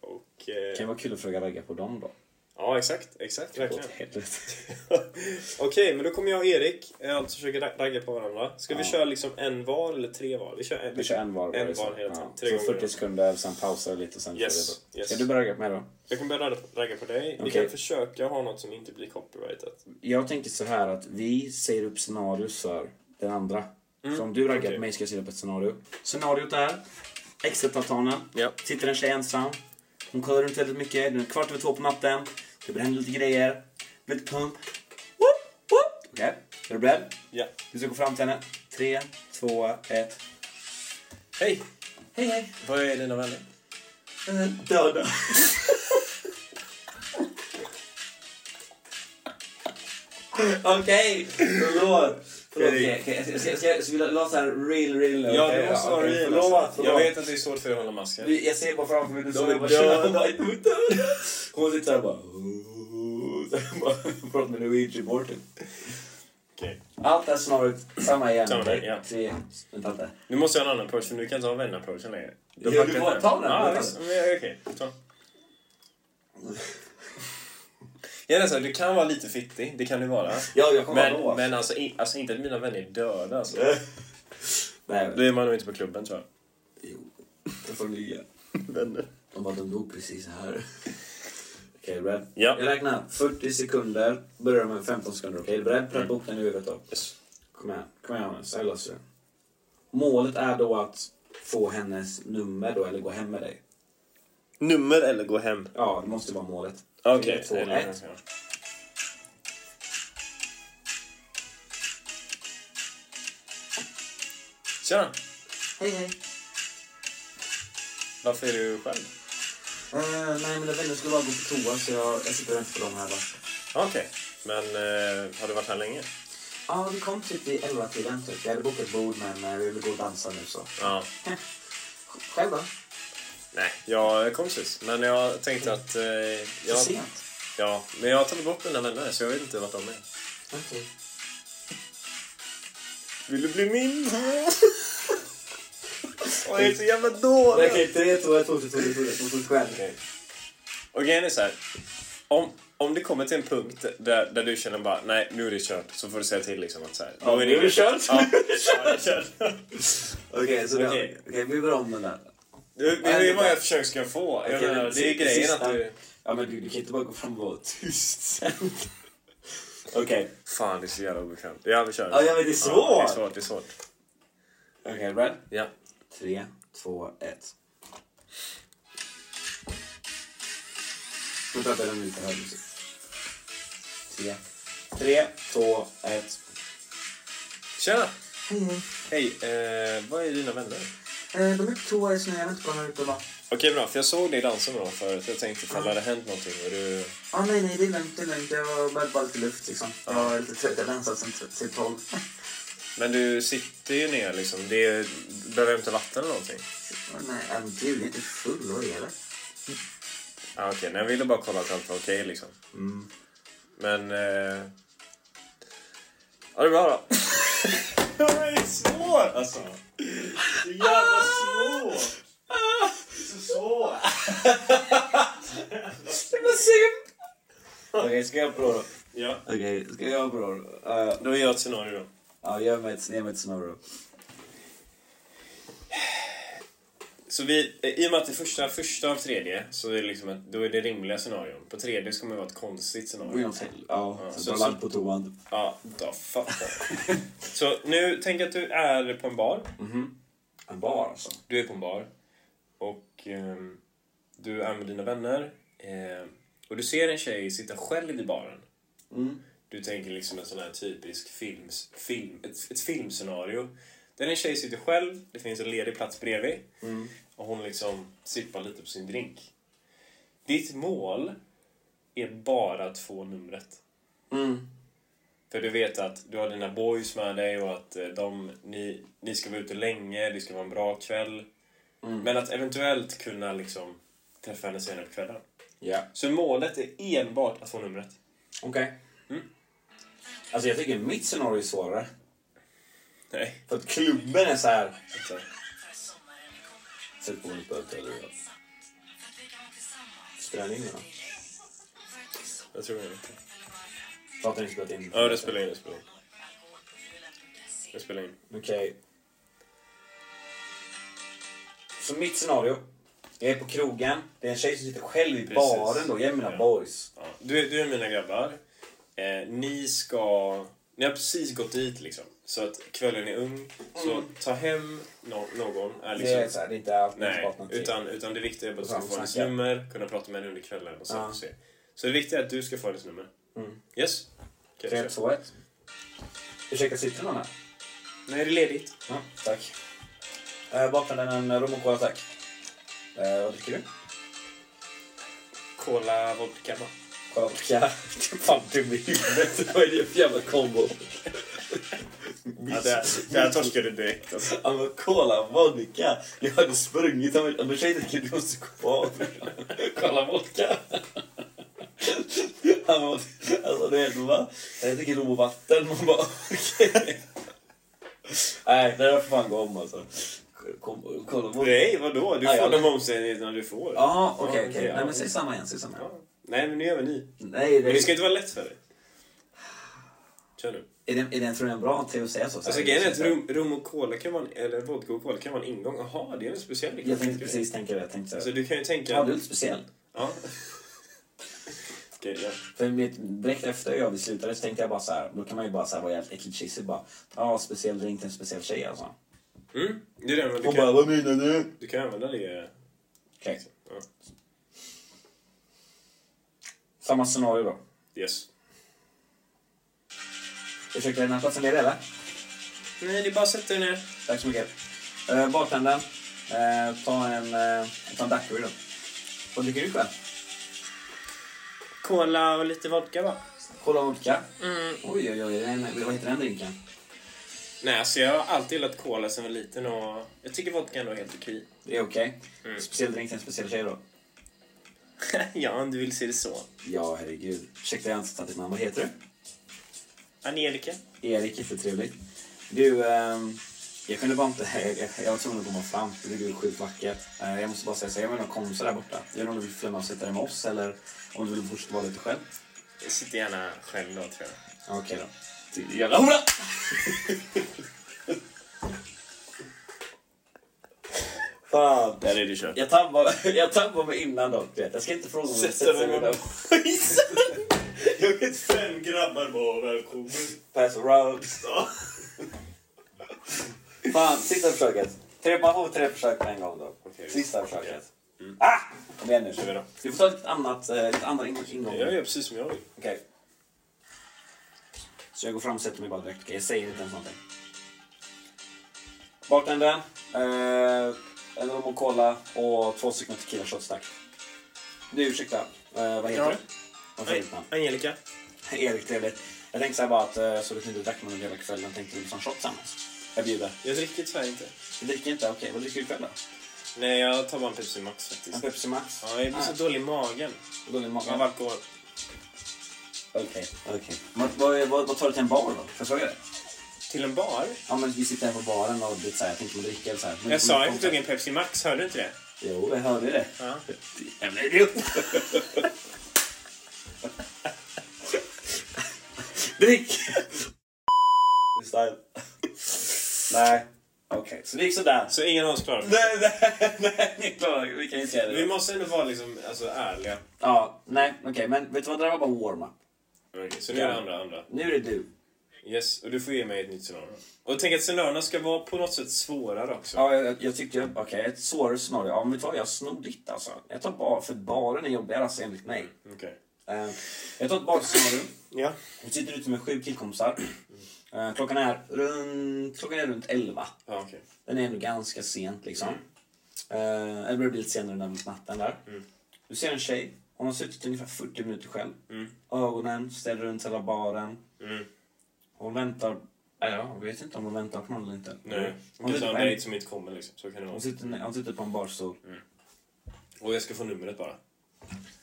[SPEAKER 1] och...
[SPEAKER 2] Det kan
[SPEAKER 1] Eh,
[SPEAKER 2] vara kul att försöka ragga på dem då.
[SPEAKER 1] ja, exakt. Exakt, verkligen.
[SPEAKER 2] Åt helvete.
[SPEAKER 1] [LAUGHS] Okej, men då kommer jag och Erik eh, alltså försöka ra- ragga på varandra. Ska vi
[SPEAKER 2] Ja.
[SPEAKER 1] köra liksom en var eller tre var? Vi kör en,
[SPEAKER 2] Vi kör en var.
[SPEAKER 1] En
[SPEAKER 2] bara, så.
[SPEAKER 1] var liksom. hela tiden.
[SPEAKER 2] Ja,
[SPEAKER 1] Tre
[SPEAKER 2] Så
[SPEAKER 1] gånger.
[SPEAKER 2] 40 sekunder, sen pausar vi lite och sen
[SPEAKER 1] Yes,
[SPEAKER 2] kör vi. då.
[SPEAKER 1] yes.
[SPEAKER 2] Ska du börja ragga på mig då?
[SPEAKER 1] Jag kan börja ragga- ragga på dig. Vi
[SPEAKER 2] Okej.
[SPEAKER 1] kan försöka ha något som inte blir copyrightat.
[SPEAKER 2] Jag tänker så här att vi säger upp scenarios för den andra. Så om du raggar
[SPEAKER 1] Mm, okej.
[SPEAKER 2] på mig ska jag säga upp ett scenario. Scenariot är exit-altanen.
[SPEAKER 1] Ja.
[SPEAKER 2] Sitter en tjej ensam. Hon kollar runt väldigt mycket. Det är kvart över två på natten. Det blir händer lite grejer. Lite pump. Woop, woop. Okej, är du beredd?
[SPEAKER 1] Ja.
[SPEAKER 2] Du ska gå fram till henne. Tre, två, ett.
[SPEAKER 1] Hej!
[SPEAKER 2] Hej, hej.
[SPEAKER 1] Vad är dina vänner?
[SPEAKER 2] Eh, Döda. [LAUGHS]
[SPEAKER 4] Okej, förlåt. Förlåt, okej, okej. Jag ska- jag ska- jag skulle låta såhär real, real.
[SPEAKER 1] Ja,
[SPEAKER 4] okej,
[SPEAKER 1] det måste vara
[SPEAKER 4] okej,
[SPEAKER 1] real.
[SPEAKER 4] Förlåt,
[SPEAKER 1] alltså. Jag
[SPEAKER 4] förlåt.
[SPEAKER 1] vet att det är svårt för dig att hålla masken.
[SPEAKER 4] Du, Jag ser bara framför mig, du
[SPEAKER 1] De är
[SPEAKER 4] såg bara
[SPEAKER 1] döda.
[SPEAKER 4] tjena bara "Du är död." Hon sitter såhär bara... [LAUGHS] Så här bara Pratar med Luigi Morton.
[SPEAKER 1] Okej.
[SPEAKER 4] Allt det här scenariot, samma igen.
[SPEAKER 1] Samma där, ja.
[SPEAKER 4] Tre, vänta lite.
[SPEAKER 1] Nu måste jag ha en annan approach, för nu kan jag inte ha vän-approachen längre.
[SPEAKER 4] Ja, du får ta den,
[SPEAKER 1] Ja,
[SPEAKER 4] ta
[SPEAKER 1] visst.
[SPEAKER 4] den.
[SPEAKER 1] Men, Okej, ta den. [LAUGHS] Jag är nästan- du kan vara lite fittig, det kan du vara.
[SPEAKER 4] Ja, jag kommer
[SPEAKER 1] Men,
[SPEAKER 4] men, då.
[SPEAKER 1] men alltså, i, alltså inte att mina vänner är döda. Alltså.
[SPEAKER 4] Nej, men-
[SPEAKER 1] Då är man nog inte på klubben tror jag.
[SPEAKER 4] Jo, jag får nya.
[SPEAKER 1] Vänner.
[SPEAKER 4] De bara, de dog precis här. [LAUGHS] Okej, är du beredd?
[SPEAKER 1] Ja.
[SPEAKER 4] Jag räknar 40 sekunder. Börjar med 15 sekunder. Okej, är du beredd?
[SPEAKER 1] Mm.
[SPEAKER 4] Preppa upp den i huvudet då.
[SPEAKER 1] Yes.
[SPEAKER 2] Kom igen, kom igen Hannes. Jag löser det.
[SPEAKER 4] Målet är då att få hennes nummer då, eller gå hem med dig.
[SPEAKER 1] Nummer eller gå hem?
[SPEAKER 4] Ja, det måste vara målet.
[SPEAKER 1] Okej.
[SPEAKER 4] Tre, två,
[SPEAKER 1] eller-
[SPEAKER 4] ett.
[SPEAKER 1] Tjena!
[SPEAKER 4] Hej, hej.
[SPEAKER 1] Varför är du själv?
[SPEAKER 4] Eh, nej, mina vänner skulle bara gå på toa så jag, jag sitter och väntar på dem här bara.
[SPEAKER 1] Okej. Men eh, har du varit här länge?
[SPEAKER 4] Ja, vi kom typ vid 11-tiden typ. Jag hade bokat bord men eh, vi ville gå och dansa nu så.
[SPEAKER 1] Ja.
[SPEAKER 2] Själv då?
[SPEAKER 1] Nej, jag kom precis. Men jag tänkte att... Eh,
[SPEAKER 2] För
[SPEAKER 1] jag,
[SPEAKER 2] sent?
[SPEAKER 1] ja, men jag har tagit bort mina vänner så jag vet inte vart de är.
[SPEAKER 2] Okej.
[SPEAKER 1] Vill du bli [LAUGHS] min? Åh, Jag är så jävla dålig!
[SPEAKER 2] Okej, tre, två, ett, två, två, två, två, två, själv.
[SPEAKER 1] Och grejen är så här. Om, om det kommer till en punkt där, där du känner bara nej, nu är det kört, så får du säga till liksom att så här,
[SPEAKER 2] Ja,
[SPEAKER 1] då
[SPEAKER 2] nu är det
[SPEAKER 1] inget-
[SPEAKER 2] kört.
[SPEAKER 1] Ja, ja, det är kört.
[SPEAKER 2] Okej, så då-
[SPEAKER 1] Okej.
[SPEAKER 2] okej, vi börjar om den där.
[SPEAKER 1] Du,
[SPEAKER 2] Vad händer
[SPEAKER 1] hur många
[SPEAKER 2] där?
[SPEAKER 1] försök ska jag få? Jag
[SPEAKER 2] Okej,
[SPEAKER 1] menar,
[SPEAKER 2] men
[SPEAKER 1] det är ju
[SPEAKER 2] si-
[SPEAKER 1] grejen
[SPEAKER 2] sista-
[SPEAKER 1] att du...
[SPEAKER 2] Ja men du, du kan inte bara gå fram och vara tyst sen. Okej.
[SPEAKER 1] Fan, det är så jävla obekvämt. Ja, vi kör.
[SPEAKER 2] Ja, ja, men det är
[SPEAKER 1] Ja, det är
[SPEAKER 2] svårt.
[SPEAKER 1] svårt, det är svårt.
[SPEAKER 2] Okej, Brad.
[SPEAKER 1] Ja.
[SPEAKER 2] Tre, två, ett. Vänta, vänta, lite högre musik. Tre. Tre, två, ett.
[SPEAKER 1] Tjena! Hej, eh, vad är dina vänner?
[SPEAKER 2] Eh, de är på toa just nu, jag vet inte bara ut och bara...
[SPEAKER 1] Okej, bra, för jag såg dig dansa med dem förut. Jag tänkte, ifall det hade hänt någonting och du...
[SPEAKER 2] Ah, nej, nej, det är lugnt, det är lugnt. Jag behöver bara lite luft liksom. Jag är lite trött, jag har dansat sen t- typ tolv. [LAUGHS]
[SPEAKER 1] Men du sitter ju ner liksom. Det är... Behöver jag inte vatten eller någonting?
[SPEAKER 2] Åh, nej, äh, gud, jag är inte full, vad är det?
[SPEAKER 1] Ja, okej. Nej, jag ville bara kolla att allt var okej liksom. Men... Eh... Ja, det är bra då. [LAUGHS] det är svårt alltså. Det är jävla svårt. Det är så svårt.
[SPEAKER 2] Okej, ska jag prova då?
[SPEAKER 1] Ja.
[SPEAKER 2] Okej, ska jag prova då? Eh,
[SPEAKER 1] Då gör jag ett scenario då.
[SPEAKER 2] Ja, gör mig ett, ge mig ett scenario.
[SPEAKER 1] Så vi, eh, I och med att det första, första av tredje, så är det, liksom ett, då är det rimliga scenarion. På tredje ska man vara ett konstigt scenario.
[SPEAKER 2] Ja,
[SPEAKER 1] så
[SPEAKER 2] så bara
[SPEAKER 1] så-
[SPEAKER 2] lagt på toan.
[SPEAKER 1] Ja, då fattar jag. Så nu, tänk att du är på en bar.
[SPEAKER 2] En bar alltså.
[SPEAKER 1] Du är på en bar. Och ehm, du är med dina vänner. Eh, och du ser en tjej sitta själv i baren. Du tänker liksom en sån här typisk films, film, ett, ett filmscenario. Där en tjej sitter själv, det finns en ledig plats bredvid. Och hon liksom sippar lite på sin drink. Ditt mål är bara att få numret.
[SPEAKER 2] Mm.
[SPEAKER 1] För du vet att du har dina boys med dig och att eh, de, ni, ni ska vara ute länge, det ska vara en bra kväll. Men att eventuellt kunna liksom träffa henne senare på kvällen.
[SPEAKER 3] Ja.
[SPEAKER 1] Så målet är enbart att få numret.
[SPEAKER 3] Okej. Mm. Alltså jag tycker mitt scenario är svårare.
[SPEAKER 1] Nej,
[SPEAKER 3] För att klubben är så här...
[SPEAKER 1] vänta.
[SPEAKER 3] Sätt på mitt böter eller vad. Spelar ni in då?
[SPEAKER 1] Jag tror jag inte.
[SPEAKER 3] Pratar ni spelat in?
[SPEAKER 1] Ja, det spelar in. Det spelar in. Det spelar in.
[SPEAKER 3] Okej. Så mitt scenario. Jag är på krogen. Det är en tjej som sitter själv i
[SPEAKER 1] Precis.
[SPEAKER 3] baren då. Jag är med mina
[SPEAKER 1] Ja.
[SPEAKER 3] boys.
[SPEAKER 1] Ja. Du, du är mina grabbar. Eh, ni ska... Ni har precis gått dit liksom. Så att kvällen är ung. Så ta hem no- någon. Mm. Är liksom,
[SPEAKER 3] Det är, så här, det är inte allt
[SPEAKER 1] Nej,
[SPEAKER 3] alternativ.
[SPEAKER 1] utan, utan det viktiga är bara att du
[SPEAKER 3] Och
[SPEAKER 1] ska
[SPEAKER 3] sen
[SPEAKER 1] få hennes
[SPEAKER 3] snacka.
[SPEAKER 1] nummer, kunna prata med henne under kvällen och sen
[SPEAKER 3] Ja.
[SPEAKER 1] få se. Så det viktiga är att du ska få hennes nummer. Yes? Okej,
[SPEAKER 3] 3,
[SPEAKER 1] kör.
[SPEAKER 3] 2, 1. Ursäkta, sitter någon här?
[SPEAKER 1] Nej, det är ledigt.
[SPEAKER 3] Ja, tack. Eh, Bartendern, en rom och cola tack. Eh, vad dricker du?
[SPEAKER 1] Cola vodka va?
[SPEAKER 3] Vodka. [LAUGHS] Fan, dum i huvudet. [LAUGHS] Vad är det för jävla kombo?
[SPEAKER 1] Ja, där, där torskar du direkt [LAUGHS] alltså.
[SPEAKER 3] Ja, men Cola vodka. Jag hade sprungit om om en tjej dricker du måste gå av. Cola vodka. [LAUGHS] Han var, alltså det är helt bara, jag dricker rom och vatten. Man bara [LAUGHS] okej. Nej, det där får fan gå om alltså. Kom- Cola vodka.
[SPEAKER 1] Nej, vadå? Du
[SPEAKER 3] Ja, ja.
[SPEAKER 1] får de omständigheterna du får.
[SPEAKER 2] Ja,
[SPEAKER 1] Ja,
[SPEAKER 2] okej, okej.
[SPEAKER 1] okej,
[SPEAKER 2] Nej,
[SPEAKER 1] ja.
[SPEAKER 2] men säg samma igen, säg samma igen.
[SPEAKER 1] Ja. Nej, men nu gör vi ni.
[SPEAKER 2] Nej, det
[SPEAKER 1] Men
[SPEAKER 2] är,
[SPEAKER 1] det ska inte vara lätt för dig. Kör nu.
[SPEAKER 2] är, den, är den från en bra till att säga så?
[SPEAKER 1] Alltså grejen är att rum, rum och cola kan vara en, eller vodka och cola kan vara en ingång. Jaha, det är en speciell grej.
[SPEAKER 2] Jag tänkte precis tänka det. Jag tänkte
[SPEAKER 1] Alltså
[SPEAKER 2] så.
[SPEAKER 1] du kan ju tänka...
[SPEAKER 2] Ja, du är lite speciell.
[SPEAKER 1] Ja. [LAUGHS] Okej, ja.
[SPEAKER 2] För mitt, direkt efter jag vi slutade så tänkte jag bara så här, då kan man ju bara så här vara jävligt äckligt kissig bara. Ja, speciell drink till en speciell tjej alltså.
[SPEAKER 1] Mm, det är det. Men du,
[SPEAKER 3] Hon
[SPEAKER 1] kan,
[SPEAKER 3] bara, vad menar du?
[SPEAKER 1] du kan använda det.
[SPEAKER 2] Okej.
[SPEAKER 1] Ja.
[SPEAKER 2] Samma scenario då.
[SPEAKER 1] Yes.
[SPEAKER 2] Ursäkta, är den här platsen ledig eller?
[SPEAKER 1] Nej, det är bara att sätta dig ner.
[SPEAKER 2] Tack så mycket. Uh, bartendern, eh, ta en, uh, ta en daiquiri då. Vad dricker du själv?
[SPEAKER 1] Cola och lite vodka va?
[SPEAKER 2] Cola vodka. Oj, oj, oj. Den, vad heter den drinken?
[SPEAKER 1] Nej, alltså jag har alltid gillat cola sen jag var liten och jag tycker vodka ändå är helt okej. [LAUGHS]
[SPEAKER 2] Det är okej. Speciell drink till en speciell tjej då.
[SPEAKER 1] ja, om du vill se det så.
[SPEAKER 2] Ja, herregud. Ursäkta, jag har inte tagit ditt namn. Vad heter
[SPEAKER 1] Angelica?
[SPEAKER 2] du? Erik, jättetrevligt. Du, ehm, jag kunde bara inte... [LAUGHS] Jag, jag, jag var tvungen att komma fram. för Det är sjukt vackert. Eh, jag måste bara säga så här, jag har några kompisar där borta. Jag vet inte om du vill följa med och sitta där med oss eller om du vill fortsätta vara lite själv.
[SPEAKER 1] Jag sitter gärna själv då, tror jag.
[SPEAKER 2] Okej då. Du Jävla hora! [LAUGHS] Fan.
[SPEAKER 1] Där är det kört.
[SPEAKER 2] Jag tappade, jag tappade mig innan dock. vet. Jag ska inte fråga om
[SPEAKER 1] Sätter mig med
[SPEAKER 2] dock.
[SPEAKER 1] bajsen! [LAUGHS]
[SPEAKER 2] Jag kan inte
[SPEAKER 5] Fem grabbar var välkommen.
[SPEAKER 2] pass around. Fan, sista försöket. Tre, man får tre försök på en gång då.
[SPEAKER 1] Okej.
[SPEAKER 2] Sista försöket. Ah! Kom igen nu.
[SPEAKER 1] vi då.
[SPEAKER 2] Du får ta ett annat, eh, lite andra ingång. ingång.
[SPEAKER 1] Jag gör precis som jag vill.
[SPEAKER 2] Okej. Så jag går fram och sätter mig bara direkt. Okej, Jag säger inte ens någonting. Bartendern. Eh, en rom och cola och två stycken tequila shots tack. Du, ursäkta. Eh, vad heter
[SPEAKER 1] Ja.
[SPEAKER 2] du? Vad heter ditt namn?
[SPEAKER 1] Angelica?
[SPEAKER 2] Erik, trevligt. Jag tänkte säga bara att eh, jag såg att ni inte drack någon öl hela kvällen. Tänkte vi ta en shot tillsammans. Jag bjuder.
[SPEAKER 1] Jag dricker tyvärr inte.
[SPEAKER 2] Du dricker inte? Okej, vad dricker du ikväll då?
[SPEAKER 1] Nej, jag tar bara en Pepsi Max
[SPEAKER 2] En
[SPEAKER 1] faktiskt.
[SPEAKER 2] Pepsi Max?
[SPEAKER 1] Ja, jag blir så dålig Ah, i magen
[SPEAKER 2] Dålig mage?
[SPEAKER 1] av alkohol.
[SPEAKER 2] Okej. okej. Vad- Vad vad- vad tar du till en bar då? Får jag fråga det?
[SPEAKER 1] Till en bar?
[SPEAKER 2] Ja, men vi sitter här på baren och det är så här, jag tänkte man dricka eller så här. Men-
[SPEAKER 1] Jag sa jag
[SPEAKER 2] men-
[SPEAKER 1] tog en Pepsi Max, hörde du inte det?
[SPEAKER 2] Jo, jag hörde det.
[SPEAKER 1] Ja.
[SPEAKER 2] Jävla idiot! Drick! Style. Nej. Okej, så det gick sådär.
[SPEAKER 1] Så ingen av oss klarar det.
[SPEAKER 2] Nej, nej, nej, ni klarar Vi kan ju säga
[SPEAKER 1] Vi
[SPEAKER 2] det.
[SPEAKER 1] måste ändå vara liksom, alltså, ärliga.
[SPEAKER 2] Ja, nej, okej, men vet du vad? Det där var bara warm-up.
[SPEAKER 1] Okej, så nu är det andra, andra.
[SPEAKER 2] Nu är det du.
[SPEAKER 1] Yes, och du får ge mig ett nytt scenario. Och tänk att scenarierna ska vara på något sätt svårare också.
[SPEAKER 2] Ja, jag, jag tyckte, jag- okej, ett svårare scenario. Ja, men vet du vad? Jag snor ditt alltså. Jag tar bar, för baren är jobbigare alltså, enligt mig.
[SPEAKER 1] Okej.
[SPEAKER 2] Eh, jag tar ett barscenario.
[SPEAKER 1] Ja.
[SPEAKER 2] Vi sitter ute med sju killkompisar. Eh, Klockan är, runt, klockan är runt 11.
[SPEAKER 1] Ja, okej.
[SPEAKER 2] Den är ändå ganska sent liksom. Eh, Eller börjar bli lite senare den där natten där.
[SPEAKER 1] Mm.
[SPEAKER 2] Du ser en tjej. Hon har suttit ungefär 40 minuter själv. Ögonen ställer runt hela baren.
[SPEAKER 1] Mm.
[SPEAKER 2] Hon väntar. Ja, jag vet inte om hon väntar på någon eller inte.
[SPEAKER 1] Nej.
[SPEAKER 2] Hon,
[SPEAKER 1] Kanske
[SPEAKER 2] sitter
[SPEAKER 1] en
[SPEAKER 2] på en,
[SPEAKER 1] dejt som inte kommer liksom. Så kan det vara.
[SPEAKER 2] hon, sitter, hon sitter på en barstol.
[SPEAKER 1] Och jag ska få numret bara.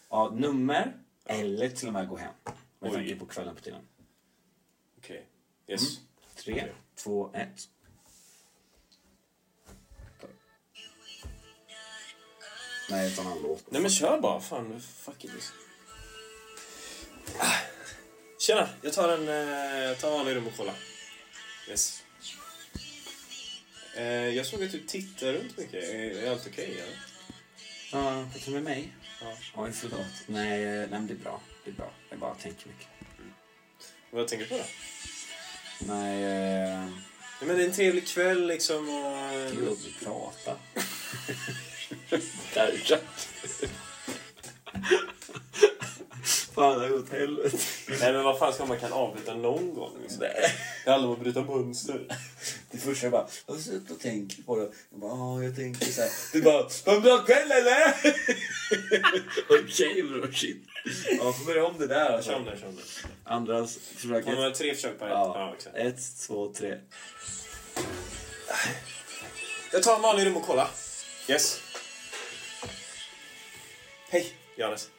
[SPEAKER 2] Ja, nummer eller till och med gå hem. Med
[SPEAKER 1] Oj.
[SPEAKER 2] tanke på kvällen på tiden.
[SPEAKER 1] Okej. Yes.
[SPEAKER 2] Tre,
[SPEAKER 1] Okej.
[SPEAKER 2] två, ett. Nej, utan han låt.
[SPEAKER 1] Nej men kör bara. Fan, fuck it liksom. Ah. Tjena, jag tar en eh, tar en vanlig rum och kolla. Yes. Eh, jag såg att du tittar runt mycket. Är, är allt okej eller?
[SPEAKER 2] Ja, pratar du med mig?
[SPEAKER 1] Ja.
[SPEAKER 2] Oj, förlåt. Nej, eh, nej, men det är bra. Det är bra. Jag bara tänker mycket.
[SPEAKER 1] Vad tänker du på då?
[SPEAKER 2] Nej, eh,
[SPEAKER 1] Nej, men det är en trevlig kväll liksom och...
[SPEAKER 2] jo,
[SPEAKER 1] [LAUGHS]
[SPEAKER 2] vi pratar. Där, tja. Fan, det har gått åt helvete.
[SPEAKER 1] Nej men vad fan ska man kan avbryta någon gång? Liksom? Det handlar om att bryta mönster.
[SPEAKER 2] Det första jag bara, jag har suttit och tänkt på det. Jag bara, ja, jag tänker så här. Du bara, var det en bra kväll eller? Okej bror, shit. Ja, får börja om det där
[SPEAKER 1] Kör om
[SPEAKER 2] alltså.
[SPEAKER 1] det, kör om det.
[SPEAKER 2] Andras
[SPEAKER 1] Om man
[SPEAKER 2] försöket.
[SPEAKER 1] har tre försök på ett. Ja,
[SPEAKER 2] Ja,
[SPEAKER 1] exakt.
[SPEAKER 2] ett, två, tre.
[SPEAKER 1] Jag tar en vanlig rum och kollar. Yes. Hej, Johannes.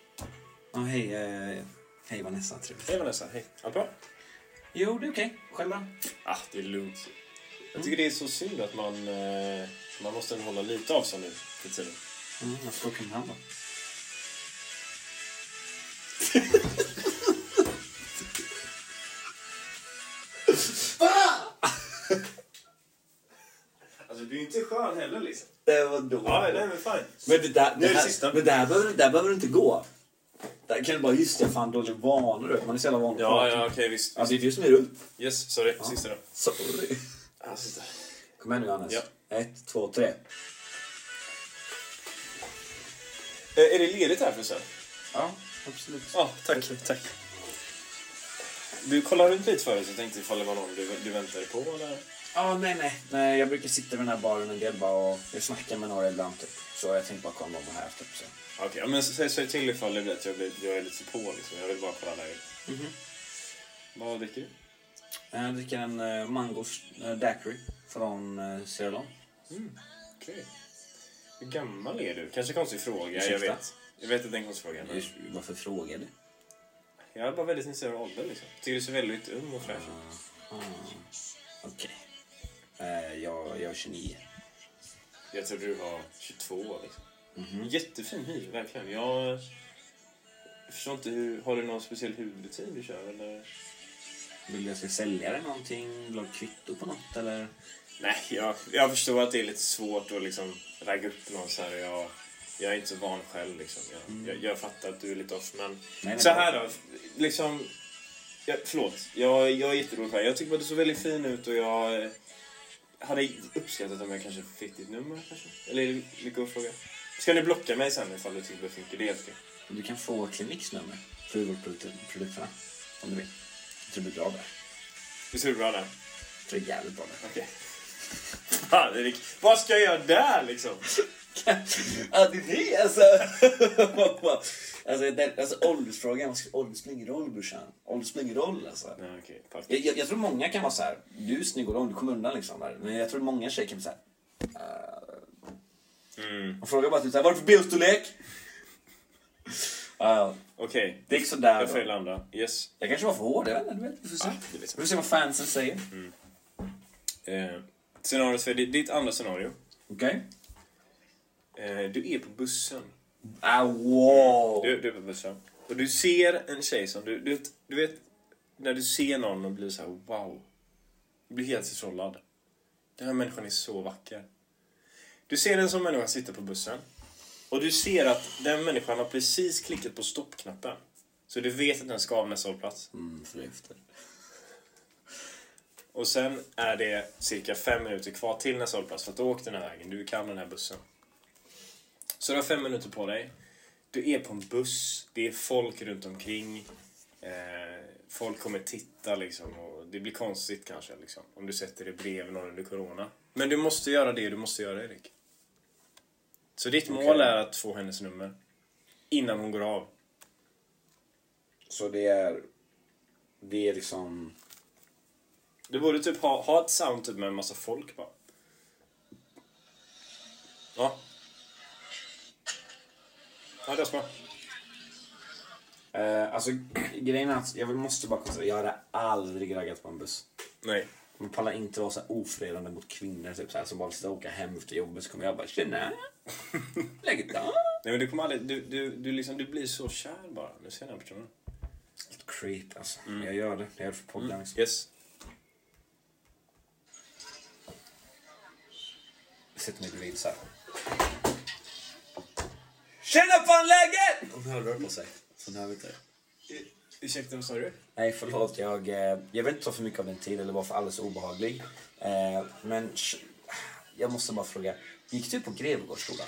[SPEAKER 2] Ja, hej. Eh, hej Vanessa, trevligt.
[SPEAKER 1] Hej Vanessa, hej. Allt bra?
[SPEAKER 2] Jo, det är okej. Själv då? Mm,
[SPEAKER 1] Ah, det är lugnt. Jag tycker det är så synd att man, eh, man måste ändå hålla lite avstånd nu för tiden.
[SPEAKER 2] Mm, jag får åka med han då.
[SPEAKER 1] Alltså du är inte skön heller liksom.
[SPEAKER 2] Det var dåligt.
[SPEAKER 1] men fine.
[SPEAKER 2] Men det där,
[SPEAKER 1] Nu
[SPEAKER 2] det
[SPEAKER 1] är det
[SPEAKER 2] här,
[SPEAKER 1] sista.
[SPEAKER 2] men det här behöver, där behöver du inte gå. Där kan du bara, just det, fan dålig vana du vet. Man är så jävla van att
[SPEAKER 1] Ja,
[SPEAKER 2] prata.
[SPEAKER 1] ja, okej visst.
[SPEAKER 2] Alltså det är du som är runt.
[SPEAKER 1] Yes, sorry. Sista då.
[SPEAKER 2] Sorry.
[SPEAKER 1] Ah, sista.
[SPEAKER 2] Kom igen nu Johannes.
[SPEAKER 1] Ja.
[SPEAKER 2] Ett, två, tre.
[SPEAKER 1] Eh, är det ledigt här förresten?
[SPEAKER 2] Ja, absolut.
[SPEAKER 1] Ja, tack. tack. Du kollade runt lite förut så jag tänkte ifall det var någon du, du väntade på eller?
[SPEAKER 2] Ja, nej, nej, nej. Jag brukar sitta vid den här baren en del bara och jag snackar med några ibland typ. Så jag tänkte bara kolla om de var här typ så.
[SPEAKER 1] Okej, ja, men säg, säg till ifall det blir att jag, blir, jag är lite på liksom. Jag vill bara kolla läget. Vad dricker du?
[SPEAKER 2] Jag dricker en eh, mango eh, daiquiri från eh, Sierra Leone.
[SPEAKER 1] Okej. Hur gammal är du? Kanske konstig fråga, jag
[SPEAKER 2] Ursäkta?
[SPEAKER 1] vet. Jag vet att det är en konstig fråga. Men
[SPEAKER 2] Just- Varför frågar du?
[SPEAKER 1] jag är bara väldigt intresserad av åldern liksom. Tycker du ser väldigt ung och fräsch ut.
[SPEAKER 2] Ah. Okej. Eh, jag, jag är 29.
[SPEAKER 1] Jag tror du var 22 liksom. Jättefin hy, verkligen. Jag... jag förstår inte hur... Har du någon speciell huvudrutin du kör eller?
[SPEAKER 2] Vill du att jag ska sälja dig någonting? Vill du ha kvitto på något eller?
[SPEAKER 1] Nej, jag, jag förstår att det är lite svårt att liksom ragga upp någon så här. Jag, jag är inte så van själv liksom. Jag, jag, jag fattar att du är lite off men...
[SPEAKER 2] Mm. nej,
[SPEAKER 1] så
[SPEAKER 2] nej.
[SPEAKER 1] här då, liksom... Jag, förlåt, jag, jag är jätterolig för det här. Jag tycker bara du såg väldigt fin ut och jag eh, hade uppskattat om jag kanske fick ditt nummer kanske. Eller är det mycket att fråga? Ska ni blocka mig sen ifall du tycker jag fick det? Det är helt okej.
[SPEAKER 2] Du kan få Kliniks nummer för hudvårdsprodukterna. Om du vill. Jag tror du blir bra där.
[SPEAKER 1] Visst är du bra där?
[SPEAKER 2] Jag tror du är jävligt bra där.
[SPEAKER 1] Okej. [LAUGHS] Fan, Erik, vad ska jag göra där liksom?
[SPEAKER 2] Ja, det är det alltså. alltså, den, alltså åldersfrågan, vad ska- ålder spelar ingen roll brorsan. Ålder spelar ingen roll alltså.
[SPEAKER 1] Nej, okej. tack.
[SPEAKER 2] Jag, jag, jag tror många kan vara så här. du är snygg och lång, du kommer undan liksom. Där. Men jag tror många tjejer kan bli så här.
[SPEAKER 1] Mm.
[SPEAKER 2] De frågar bara typ såhär, vad är det för benstorlek? Ja, ja.
[SPEAKER 1] Okej,
[SPEAKER 2] det gick sådär
[SPEAKER 1] jag får
[SPEAKER 2] då.
[SPEAKER 1] landa. Yes.
[SPEAKER 2] Jag kanske var för hård, jag vet inte. du vet, Vi får se.
[SPEAKER 1] Ah, det vet jag
[SPEAKER 2] Vi
[SPEAKER 1] inte.
[SPEAKER 2] får se vad fansen säger.
[SPEAKER 1] Eh, scenariot för ditt, ditt andra scenario.
[SPEAKER 2] Okej?
[SPEAKER 1] Eh, du är på bussen.
[SPEAKER 2] Ah, wow!
[SPEAKER 1] Du, du är på bussen. Och du ser en tjej som du... Du vet, du vet när du ser någon och blir så här wow. Du blir helt förtrollad. Den här människan är så vacker. Du ser den som människa sitta på bussen. Och du ser att den människan har precis klickat på stoppknappen. Så du vet att den ska av nästa hållplats.
[SPEAKER 2] Mm, för efter.
[SPEAKER 1] Och sen är det cirka fem minuter kvar till nästa hållplats för att du har åkt den här vägen, du kan den här bussen. Så du har fem minuter på dig. Du är på en buss, det är folk runt omkring. Eh, folk kommer titta liksom och det blir konstigt kanske liksom, om du sätter dig bredvid någon under corona. Men du måste göra det du måste göra Erik. Så ditt mål är att få hennes nummer. Innan hon går av.
[SPEAKER 2] Så det är... Det är liksom...
[SPEAKER 1] Du borde typ ha, ha ett sound typ med en massa folk bara. Ja. Ja, det är smart.
[SPEAKER 2] Eh, alltså, [CLEARS THROAT] grejen är att jag vill- måste bara konstatera, jag hade aldrig raggat på en buss.
[SPEAKER 1] Nej. [LAUGHS]
[SPEAKER 2] Man pallar inte vara så här ofredande mot kvinnor typ så här, som bara sitter och åka hem efter jobbet så kommer jag bara tjena, läget då?
[SPEAKER 1] Nej men du kommer aldrig, du, du, du liksom, du blir så kär bara. Nu ser jag den här personen.
[SPEAKER 2] Creep alltså. Jag gör det, jag gör det för podden liksom.
[SPEAKER 1] Yes.
[SPEAKER 2] Jag sitter mig bredvid såhär. Tjena fan läget! Hon hörde på sig. Från helvete.
[SPEAKER 1] Ursäkta, vad sa du?
[SPEAKER 2] Nej förlåt, jag, eh, jag vill inte ta för mycket av din tid eller vara för alldeles obehaglig. Eh, men sh- jag måste bara fråga, gick du på Grevegårdsskolan?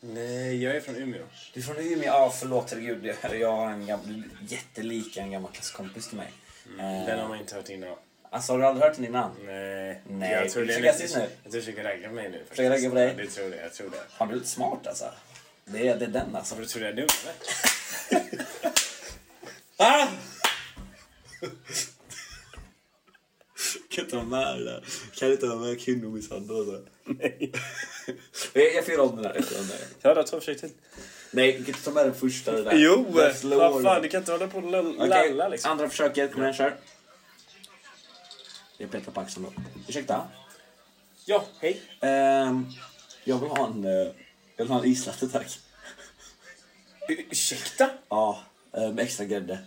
[SPEAKER 1] Nej, jag är från Umeå.
[SPEAKER 2] Du är från Umeå? Ja förlåt herregud, jag- jag har en gammal, jättelik en gammal klasskompis till mig. Eh,
[SPEAKER 1] Den har man inte hört innan.
[SPEAKER 2] Alltså har du aldrig hört den innan?
[SPEAKER 1] Nej.
[SPEAKER 2] Nej,
[SPEAKER 1] Jag tror
[SPEAKER 2] du
[SPEAKER 1] det är
[SPEAKER 2] försöker
[SPEAKER 1] lite,
[SPEAKER 2] rasist nu.
[SPEAKER 1] Jag tror du försöker ragga mig nu. faktiskt.
[SPEAKER 2] Försöker ragga på dig?
[SPEAKER 1] Ja, det tror jag, jag tror det.
[SPEAKER 2] Fan du är lite smart alltså. Det är, det är den alltså.
[SPEAKER 1] Varför tror du det är du eller?
[SPEAKER 2] Ah! kan inte ha med det där. Kan inte ha med kvinnomisshandel alltså? och så. [LAUGHS] Nej. jag, jag får göra om den där. jag får göra om den där.
[SPEAKER 1] Ja, då tar vi försök till.
[SPEAKER 2] Nej, du kan inte ta med den första. Det där.
[SPEAKER 1] Jo!
[SPEAKER 2] Den slår.
[SPEAKER 1] Vad fan, du kan inte hålla på och lall-
[SPEAKER 2] Okej,
[SPEAKER 1] lalla liksom.
[SPEAKER 2] andra försöket. Kom igen, kör. Jag petar på axeln då. Ursäkta?
[SPEAKER 1] Ja, hej.
[SPEAKER 2] Ehm, jag vill ha en, eh, jag vill ha en islatte tack.
[SPEAKER 1] U- Ursäkta?
[SPEAKER 2] Ja, eh, med extra grädde.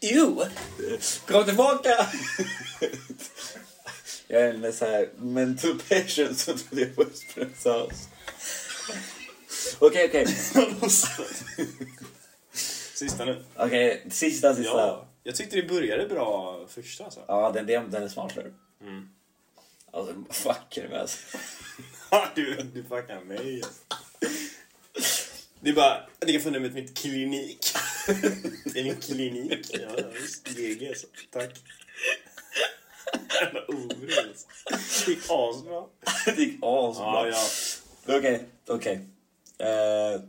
[SPEAKER 1] Jo!
[SPEAKER 2] Kom tillbaka! [LAUGHS] jag är en så här mental patient som trodde jag var Espresso House. Okej, okej.
[SPEAKER 1] [LAUGHS] Sista nu.
[SPEAKER 2] Okej, sista, sista.
[SPEAKER 1] Ja.
[SPEAKER 2] Ja,
[SPEAKER 1] Jag tyckte det började bra första alltså.
[SPEAKER 2] den, den, den är smart. Mm. Alltså, fuck är det med alltså. [LAUGHS]
[SPEAKER 1] du, du fuckar mig alltså. Det är bara, det kan få numret mitt [LAUGHS] klinik. Det är min klinik. Ja, visst. GG alltså. Tack. Jävla oro alltså. Det gick asbra.
[SPEAKER 2] Det gick asbra.
[SPEAKER 1] Ja, ja.
[SPEAKER 2] Okej, okej. Eh,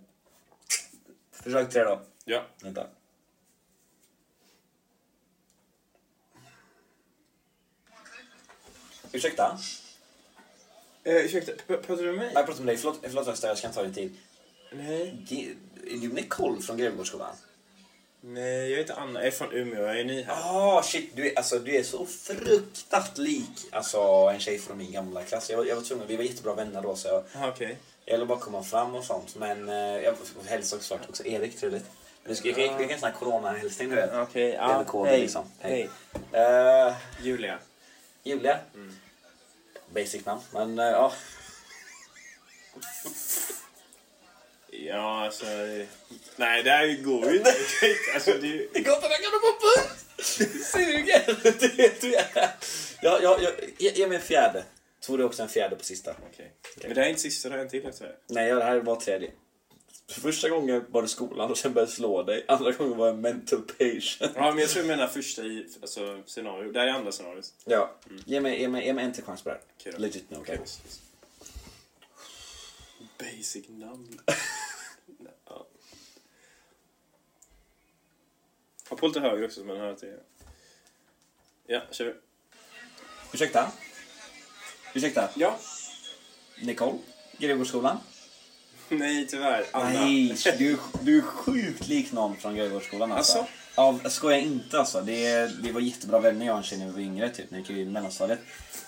[SPEAKER 2] Försök tre då.
[SPEAKER 1] Ja.
[SPEAKER 2] Vänta. Ursäkta?
[SPEAKER 1] Eh, ursäkta, p- pratar du med mig?
[SPEAKER 2] Jag pratar med dig. Förlåt, förlåt Vesta, jag ska inte ta din tid.
[SPEAKER 1] Nej.
[SPEAKER 2] Ge- Är du Nicole från Grevgårdsskolan?
[SPEAKER 1] Nej, jag heter Anna. Jag är från Umeå. Jag är ny här.
[SPEAKER 2] Ah shit, du är, alltså, du är så fruktat lik alltså, en tjej från min gamla klass. Jag, var- jag var tvungen, vi var jättebra vänner då så jag,
[SPEAKER 1] Ah, okej.
[SPEAKER 2] jag ville bara komma fram och sånt. Men eh, jag hälsade såklart också Erik trevligt. Men Jag kan göra en sån här coronahälsning du vet.
[SPEAKER 1] Okej,
[SPEAKER 2] Det är
[SPEAKER 1] ja.
[SPEAKER 2] väl koden, liksom. Hej.
[SPEAKER 1] Hej.
[SPEAKER 2] Eh,
[SPEAKER 1] Julia.
[SPEAKER 2] Julia. Basic namn, men eh, ja.
[SPEAKER 1] Ja, alltså... eh, Nej, det här går ju inte. [LAUGHS] Alltså, det är ju...
[SPEAKER 2] Det går inte, den kan du få puss! Det suger! [LAUGHS] Det vet du är. Ja, ja, ja, ge, ge mig en fjärde. Tror du också en fjärde på sista?
[SPEAKER 1] Okej. Men det här är inte sista, det här är en till alltså. efter det här.
[SPEAKER 2] Nej, ja, det här var tredje. Första gången var det skolan och sen började jag slå dig. Andra gången var jag mental patient.
[SPEAKER 1] Ja, men jag tror jag menar första i, alltså, scenario. Det här är andra scenariot.
[SPEAKER 2] Ja, ge mig, ge mig, ge mig en till chans på det här.
[SPEAKER 1] Okej då.
[SPEAKER 2] Legit nu, Mm. okej?
[SPEAKER 1] Basic [LAUGHS] namn. ja. Jag på lite högre också så man hör att det är... Ja, kör vi.
[SPEAKER 2] Ursäkta? Ursäkta?
[SPEAKER 1] Ja.
[SPEAKER 2] Nicole? Grevgårdsskolan?
[SPEAKER 1] [LAUGHS] Nej, tyvärr. Anna.
[SPEAKER 2] Nej, du, du är sjukt lik någon från Grevgårdsskolan alltså.
[SPEAKER 1] Asså?
[SPEAKER 2] Ja, jag skojar inte alltså. Det, det var jättebra vänner jag och en tjej när vi var yngre typ. När vi gick i mellanstadiet.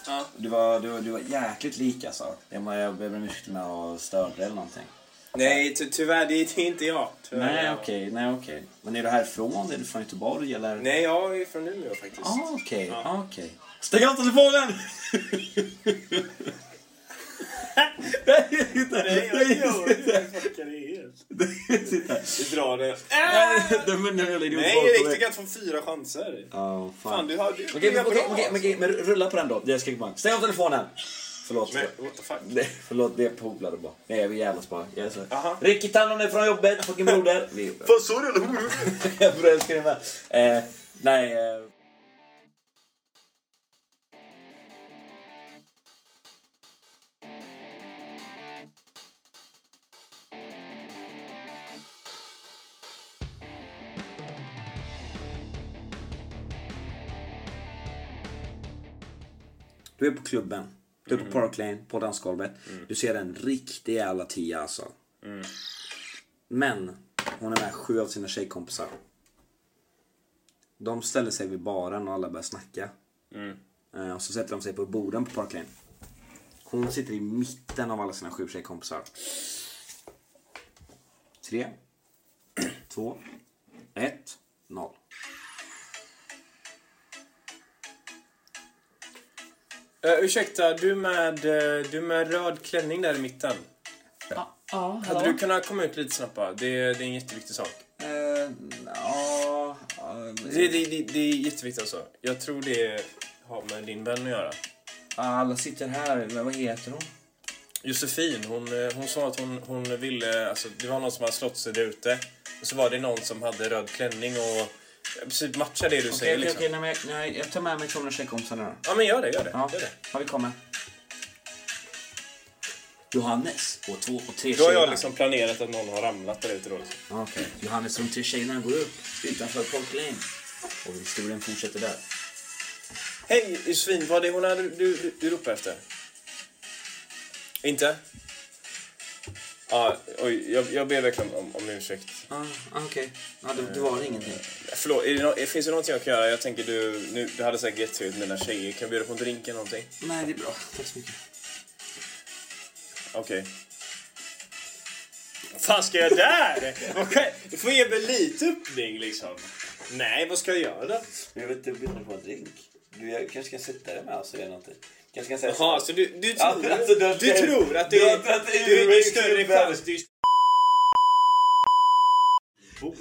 [SPEAKER 1] Ja.
[SPEAKER 2] Du var, du, var- du var jäkligt lik alltså. Jag, må- jag ber om ursäkt om jag störde eller någonting.
[SPEAKER 1] Nej, ty tyvärr. Det är inte jag. Tyvärr.
[SPEAKER 2] Nej okej, nej okej. Men är du härifrån? Är du från Göteborg eller?
[SPEAKER 1] Nej, jag är från Umeå faktiskt.
[SPEAKER 2] Ah, okej, ah, okej. Stäng av telefonen! [LAUGHS] Nej, titta!
[SPEAKER 1] Nej, jag
[SPEAKER 2] Nej, [LAUGHS]
[SPEAKER 1] fuckar det helt.
[SPEAKER 2] titta!
[SPEAKER 1] E Vi drar det. Äh,
[SPEAKER 2] Den munnen rullar i din
[SPEAKER 1] Nej,
[SPEAKER 2] folk.
[SPEAKER 1] Erik, du kan få fyra chanser.
[SPEAKER 2] Ja,
[SPEAKER 1] Fan,
[SPEAKER 2] fan.
[SPEAKER 1] du har... Du,
[SPEAKER 2] Okej,
[SPEAKER 1] du är
[SPEAKER 2] men- okej,
[SPEAKER 1] bra. alltså.
[SPEAKER 2] okej, men- okej, men rulla på den då. Jag skriker bara. Stäng av telefonen! Förlåt.
[SPEAKER 1] Men, what the fuck?
[SPEAKER 2] Nej, förlåt, det polade bara. Nej, jag vill jävlas bara. Jag är så-
[SPEAKER 1] Aha.
[SPEAKER 2] Ricky Tannon är från jobbet, fucking broder. Vi
[SPEAKER 1] Vad sa du? eller?
[SPEAKER 2] [LAUGHS] jag börjar skriva. Eh, nej. Eh. Du är på klubben. Du är på Park Lane, på dansgolvet. Du ser en riktig jävla tia alltså. Men hon är med sju av sina tjejkompisar. De ställer sig vid baren och alla börjar snacka. Eh, Och så sätter de sig på borden på Park Lane. Hon sitter i mitten av alla sina sju tjejkompisar. Tre, två, ett, noll.
[SPEAKER 1] Eh, ursäkta, du med, eh, du med röd klänning där i mitten.
[SPEAKER 2] Ja,
[SPEAKER 1] Hade du kunnat komma ut lite snabbare? Det, är- det är en jätteviktig sak.
[SPEAKER 2] Eh, Ja,
[SPEAKER 1] Det, det, det, det är jätteviktigt alltså. Jag tror det har med din vän att göra.
[SPEAKER 2] alla sitter här. Men vad heter hon?
[SPEAKER 1] Josefin, hon, eh, hon sa att hon, hon ville... Alltså, det var någon som hade slått sig där ute. Och så var det någon som hade röd klänning och... eh, Precis, matcha det du
[SPEAKER 2] Okej,
[SPEAKER 1] säger
[SPEAKER 2] okej,
[SPEAKER 1] liksom.
[SPEAKER 2] okej. nej, men jag- nej, Jag tar med mig Tjone och tjejkompisarna då.
[SPEAKER 1] Ja, men gör det, gör det.
[SPEAKER 2] Ja,
[SPEAKER 1] Gör det.
[SPEAKER 2] ja vi kommer. Johannes och två och tre
[SPEAKER 1] Då har
[SPEAKER 2] tjejerna.
[SPEAKER 1] jag liksom planerat att någon har ramlat där ute då. Liksom.
[SPEAKER 2] Ja, Okej, Johannes och de tre tjejerna går upp utanför Park Lane. Och historien fortsätter där.
[SPEAKER 1] Hej Josefin, vad är det hon är du, du, du, du ropar efter? Inte? Ja, oj, jag, jag ber verkligen om, om ursäkt.
[SPEAKER 2] Ah, ah, okej. Ja, det, det var ingenting.
[SPEAKER 1] Förlåt, är det nå- finns det någonting jag kan göra? Jag tänker du, nu, du hade säkert jättetrevligt med dina tjejer. Kan jag bjuda på en drink eller någonting?
[SPEAKER 2] Nej, det är bra. Tack så mycket.
[SPEAKER 1] Okej. Vad fan ska jag där? Vad kan- Du får ge mig lite öppning liksom. Nej, vad ska jag göra då?
[SPEAKER 2] Jag vet inte, jag bjuder på en drink. Du kanske kan sätta dig med oss och göra någonting. Kanske kan säga
[SPEAKER 1] Jaha, så du, du,
[SPEAKER 2] Ja,
[SPEAKER 1] tror,
[SPEAKER 2] alltså,
[SPEAKER 1] du,
[SPEAKER 2] du-
[SPEAKER 1] tror att
[SPEAKER 2] du-
[SPEAKER 1] det är,
[SPEAKER 2] du- att det är-
[SPEAKER 1] du är
[SPEAKER 2] du är
[SPEAKER 1] en större
[SPEAKER 2] klubben.
[SPEAKER 1] chans? [LAUGHS] Du är bord.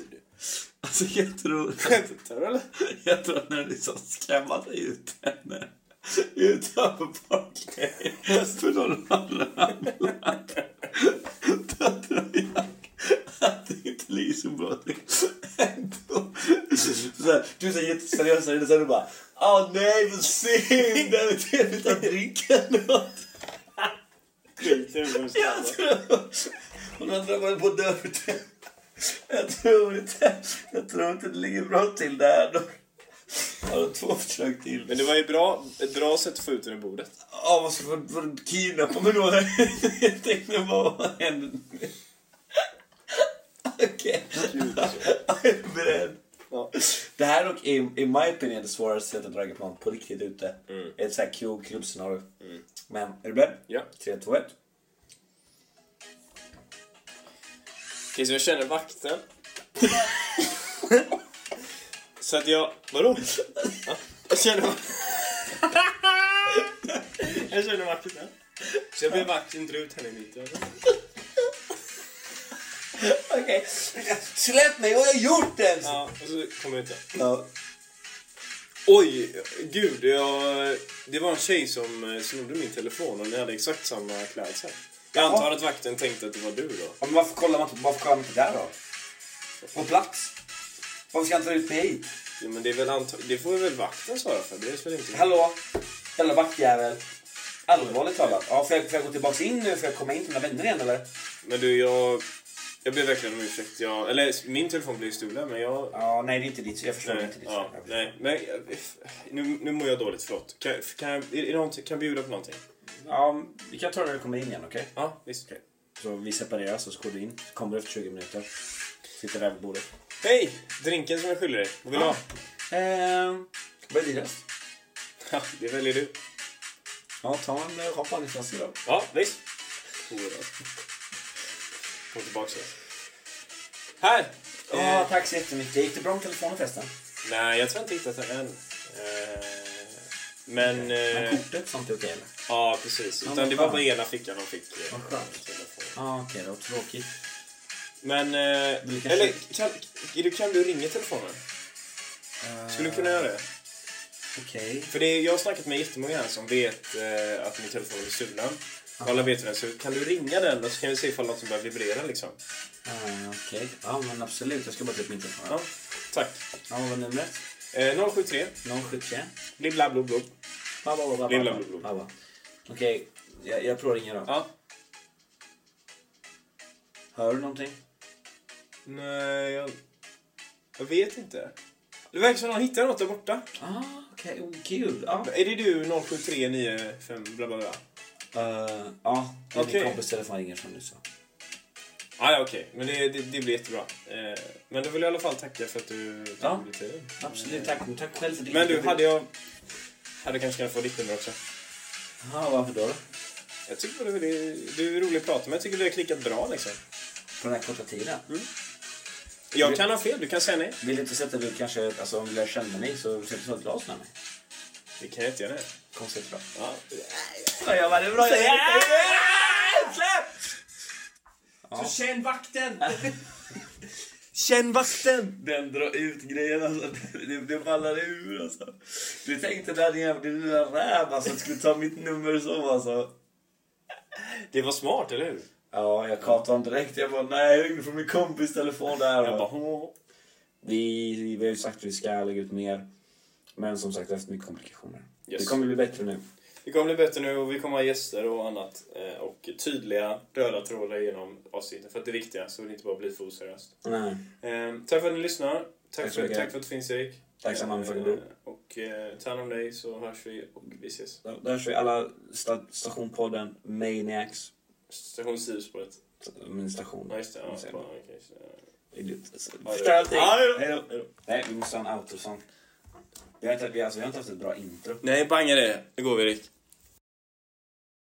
[SPEAKER 2] Alltså jag tror...
[SPEAKER 1] Skämtar du eller?
[SPEAKER 2] [LAUGHS] Jag tror att när du liksom skämmade ut henne utanför parkeringen för de har ramlat. Då tror jag att det inte ligger så bra till. Ändå. Så här, Du är så jätteseriös och sen du bara Åh nej vad synd! Det är trevligt att dricka något. Jag tror... Hon har drabbat på dörren. Jag tror inte... Jag tror inte det ligger bra till där. Har du två försök till?
[SPEAKER 1] Men det var ju bra, ett bra sätt att få ut den ur bordet.
[SPEAKER 2] Ja, vad ska vad- vad- kidnappa mig då? eller? Jag tänkte bara, vad händer nu? Okej, jag är beredd.
[SPEAKER 1] Ja.
[SPEAKER 2] Det här dock, i, i my opinion, det svåraste sättet att ragga plan på riktigt ute.
[SPEAKER 1] Mm.
[SPEAKER 2] Ett sånt här kul klubbscenario. Men, är du beredd?
[SPEAKER 1] Ja.
[SPEAKER 2] 3, 2, 1.
[SPEAKER 1] Okej, så jag känner vakten. så att jag... Vadå? Ja, jag känner... jag känner vakten. Så jag ber vakten dra ut henne i mitt öga.
[SPEAKER 2] Okej. Släpp mig, vad har jag gjort ens?
[SPEAKER 1] Ja, och så kommer jag ut.
[SPEAKER 2] Ja.
[SPEAKER 1] Oj, gud. Jag, det var en tjej som eh, snodde min telefon och ni hade exakt samma klädsel. Jag antar att vakten tänkte att det var du då.
[SPEAKER 2] Ja, Men varför kollar man inte, varför kollar man inte där då? På plats? Varför ska han ta ut mig hit?
[SPEAKER 1] Ja, men det, är väl anta- det får väl vakten svara för? Det är väl inte...
[SPEAKER 2] Hallå? Jävla vaktjävel. Allvarligt talat. Ja, får, jag, får jag gå tillbaks in nu? Får jag komma in till mina vänner igen eller?
[SPEAKER 1] Men du, jag... Jag ber verkligen om ursäkt. Jag, eller min telefon blev stulen, men jag...
[SPEAKER 2] Ja, nej det är inte ditt. Jag förstår
[SPEAKER 1] Nej,
[SPEAKER 2] inte ditt.
[SPEAKER 1] ja, nej, men eh, nu, nu mår jag dåligt, förlåt. Kan, kan, jag- är det någonting- kan jag bjuda på någonting?
[SPEAKER 2] Ja, vi kan ta det när du kommer in igen, okej?
[SPEAKER 1] Ja, visst.
[SPEAKER 2] Så vi separeras och så går du in. Så kommer du efter 20 minuter. Sitter där vid bordet.
[SPEAKER 1] Hej! Drinken som jag skyller dig. Vad vill du ha?
[SPEAKER 2] Ehm, vad är dyrast?
[SPEAKER 1] Ja,
[SPEAKER 2] [LAUGHS]
[SPEAKER 1] det väljer du.
[SPEAKER 2] Ja, ta en eh, champagneflaska då.
[SPEAKER 1] Ja, visst. Oerhört. Kom tillbaks då. Här! Ah.
[SPEAKER 2] Ja, tack så jättemycket. Gick det bra med telefonen förresten?
[SPEAKER 1] Nej, jag tror inte jag hittat den än. Eh, men...
[SPEAKER 2] Men
[SPEAKER 1] Eh,
[SPEAKER 2] kortet sånt är okej eller?
[SPEAKER 1] ja, precis.
[SPEAKER 2] vad
[SPEAKER 1] Utan det var
[SPEAKER 2] skönt.
[SPEAKER 1] bara ena fickan de fick. eh,
[SPEAKER 2] Vad skönt.
[SPEAKER 1] telefon.
[SPEAKER 2] Ja, ah, okej då. Tråkigt.
[SPEAKER 1] Men... Eh,
[SPEAKER 2] Du kanske-
[SPEAKER 1] Eller kan, du, kan du ringa i telefonen? Skulle du kunna göra det?
[SPEAKER 2] Okej.
[SPEAKER 1] För det är, jag har snackat med jättemånga här som vet eh, att min telefon är stulen. Och Alla vet hur den ser ut. Kan du ringa den och så kan vi se ifall något som börjar vibrera liksom?
[SPEAKER 2] Ah, okej. Ja, men absolut. Jag ska bara ta upp min telefon.
[SPEAKER 1] Ja, tack.
[SPEAKER 2] Ja, vad var numret?
[SPEAKER 1] Eh, 073
[SPEAKER 2] 071?
[SPEAKER 1] blibla blub blub.
[SPEAKER 2] Ba, ba, ba, ba,
[SPEAKER 1] Lilla
[SPEAKER 2] ba,
[SPEAKER 1] blå, blå.
[SPEAKER 2] ba, ba. Okej, jag, jag provringer då.
[SPEAKER 1] Ja.
[SPEAKER 2] Hör du någonting?
[SPEAKER 1] Nej, jag... Jag vet inte. Det verkar som någon hittar något där borta.
[SPEAKER 2] Ah, okej. Oh, gud. Ja,
[SPEAKER 1] Är det du 07395 bla bla bla?
[SPEAKER 2] Eh, ja, det är
[SPEAKER 1] Okej.
[SPEAKER 2] min kompis telefon ringer som du sa.
[SPEAKER 1] Ah, ja, okej. Men det, det, det blir jättebra. Eh, men då vill jag i alla fall tacka för att du tog
[SPEAKER 2] Ja.
[SPEAKER 1] dig tiden. Eh,
[SPEAKER 2] Absolut, tack. Tack själv för det.
[SPEAKER 1] Men du, hade jag... Hade kanske kunnat få ditt nummer också.
[SPEAKER 2] Ja, varför då?
[SPEAKER 1] Jag tycker bara det, du är rolig att prata med. Jag tycker vi har klickat bra liksom.
[SPEAKER 2] På den här korta tiden.
[SPEAKER 1] Jag kan ha fel, du kan säga nej.
[SPEAKER 2] Vill du inte sätta dig kanske, alltså om du lär känna mig så sätter du ett glas med mig.
[SPEAKER 1] Det kan jag inte göra.
[SPEAKER 2] Konstigt bra.
[SPEAKER 1] Ja.
[SPEAKER 2] Ja, jag var det bra.
[SPEAKER 1] Släpp! Så känn vakten! känn vakten!
[SPEAKER 2] Den drar ut grejen alltså. Det, det ballar ur alltså. Du tänkte den jävla lilla räv alltså. Skulle ta mitt nummer så alltså.
[SPEAKER 1] Det var smart, eller hur?
[SPEAKER 2] Ja, jag kapade honom direkt. Jag bara, nej, jag ringde från min kompis telefon där.
[SPEAKER 1] Jag bara... "Hå."
[SPEAKER 3] Vi, vi har ju sagt att vi ska lägga ut mer. Men som sagt, efter mycket komplikationer.
[SPEAKER 1] Yes.
[SPEAKER 3] Det kommer bli bättre nu.
[SPEAKER 1] Det kommer bli bättre nu och vi kommer ha gäster och annat. eh, Och tydliga röda trådar genom avsnittet. För att det är viktiga, så det inte bara blir för oseriöst.
[SPEAKER 3] Nej.
[SPEAKER 1] Eh, Tack för att ni lyssnar. Tack,
[SPEAKER 3] Tack så
[SPEAKER 1] för,
[SPEAKER 3] mycket.
[SPEAKER 1] tack för att du finns, Erik. Ehm,
[SPEAKER 3] Tack samma för din bror.
[SPEAKER 1] Och eh, ta hand om dig, så hörs vi och vi ses.
[SPEAKER 3] Där- Där kör vi alla sta, Stationpodden, Maniacs.
[SPEAKER 1] Station Sivspåret.
[SPEAKER 3] Min station.
[SPEAKER 1] Ja, just det. Ja,
[SPEAKER 3] Vad säger
[SPEAKER 1] bra,
[SPEAKER 3] man?
[SPEAKER 1] okej, så, ja.
[SPEAKER 3] Idiot. Alltså,
[SPEAKER 1] det-
[SPEAKER 3] Förstör allting.
[SPEAKER 1] Ja,
[SPEAKER 3] Hej då, hej då. Nej, vi måste ha en outro-sång. Vi har inte, vi, alltså, vi har inte haft ett bra intro.
[SPEAKER 1] Nej, banga det. Nu går vi, Erik.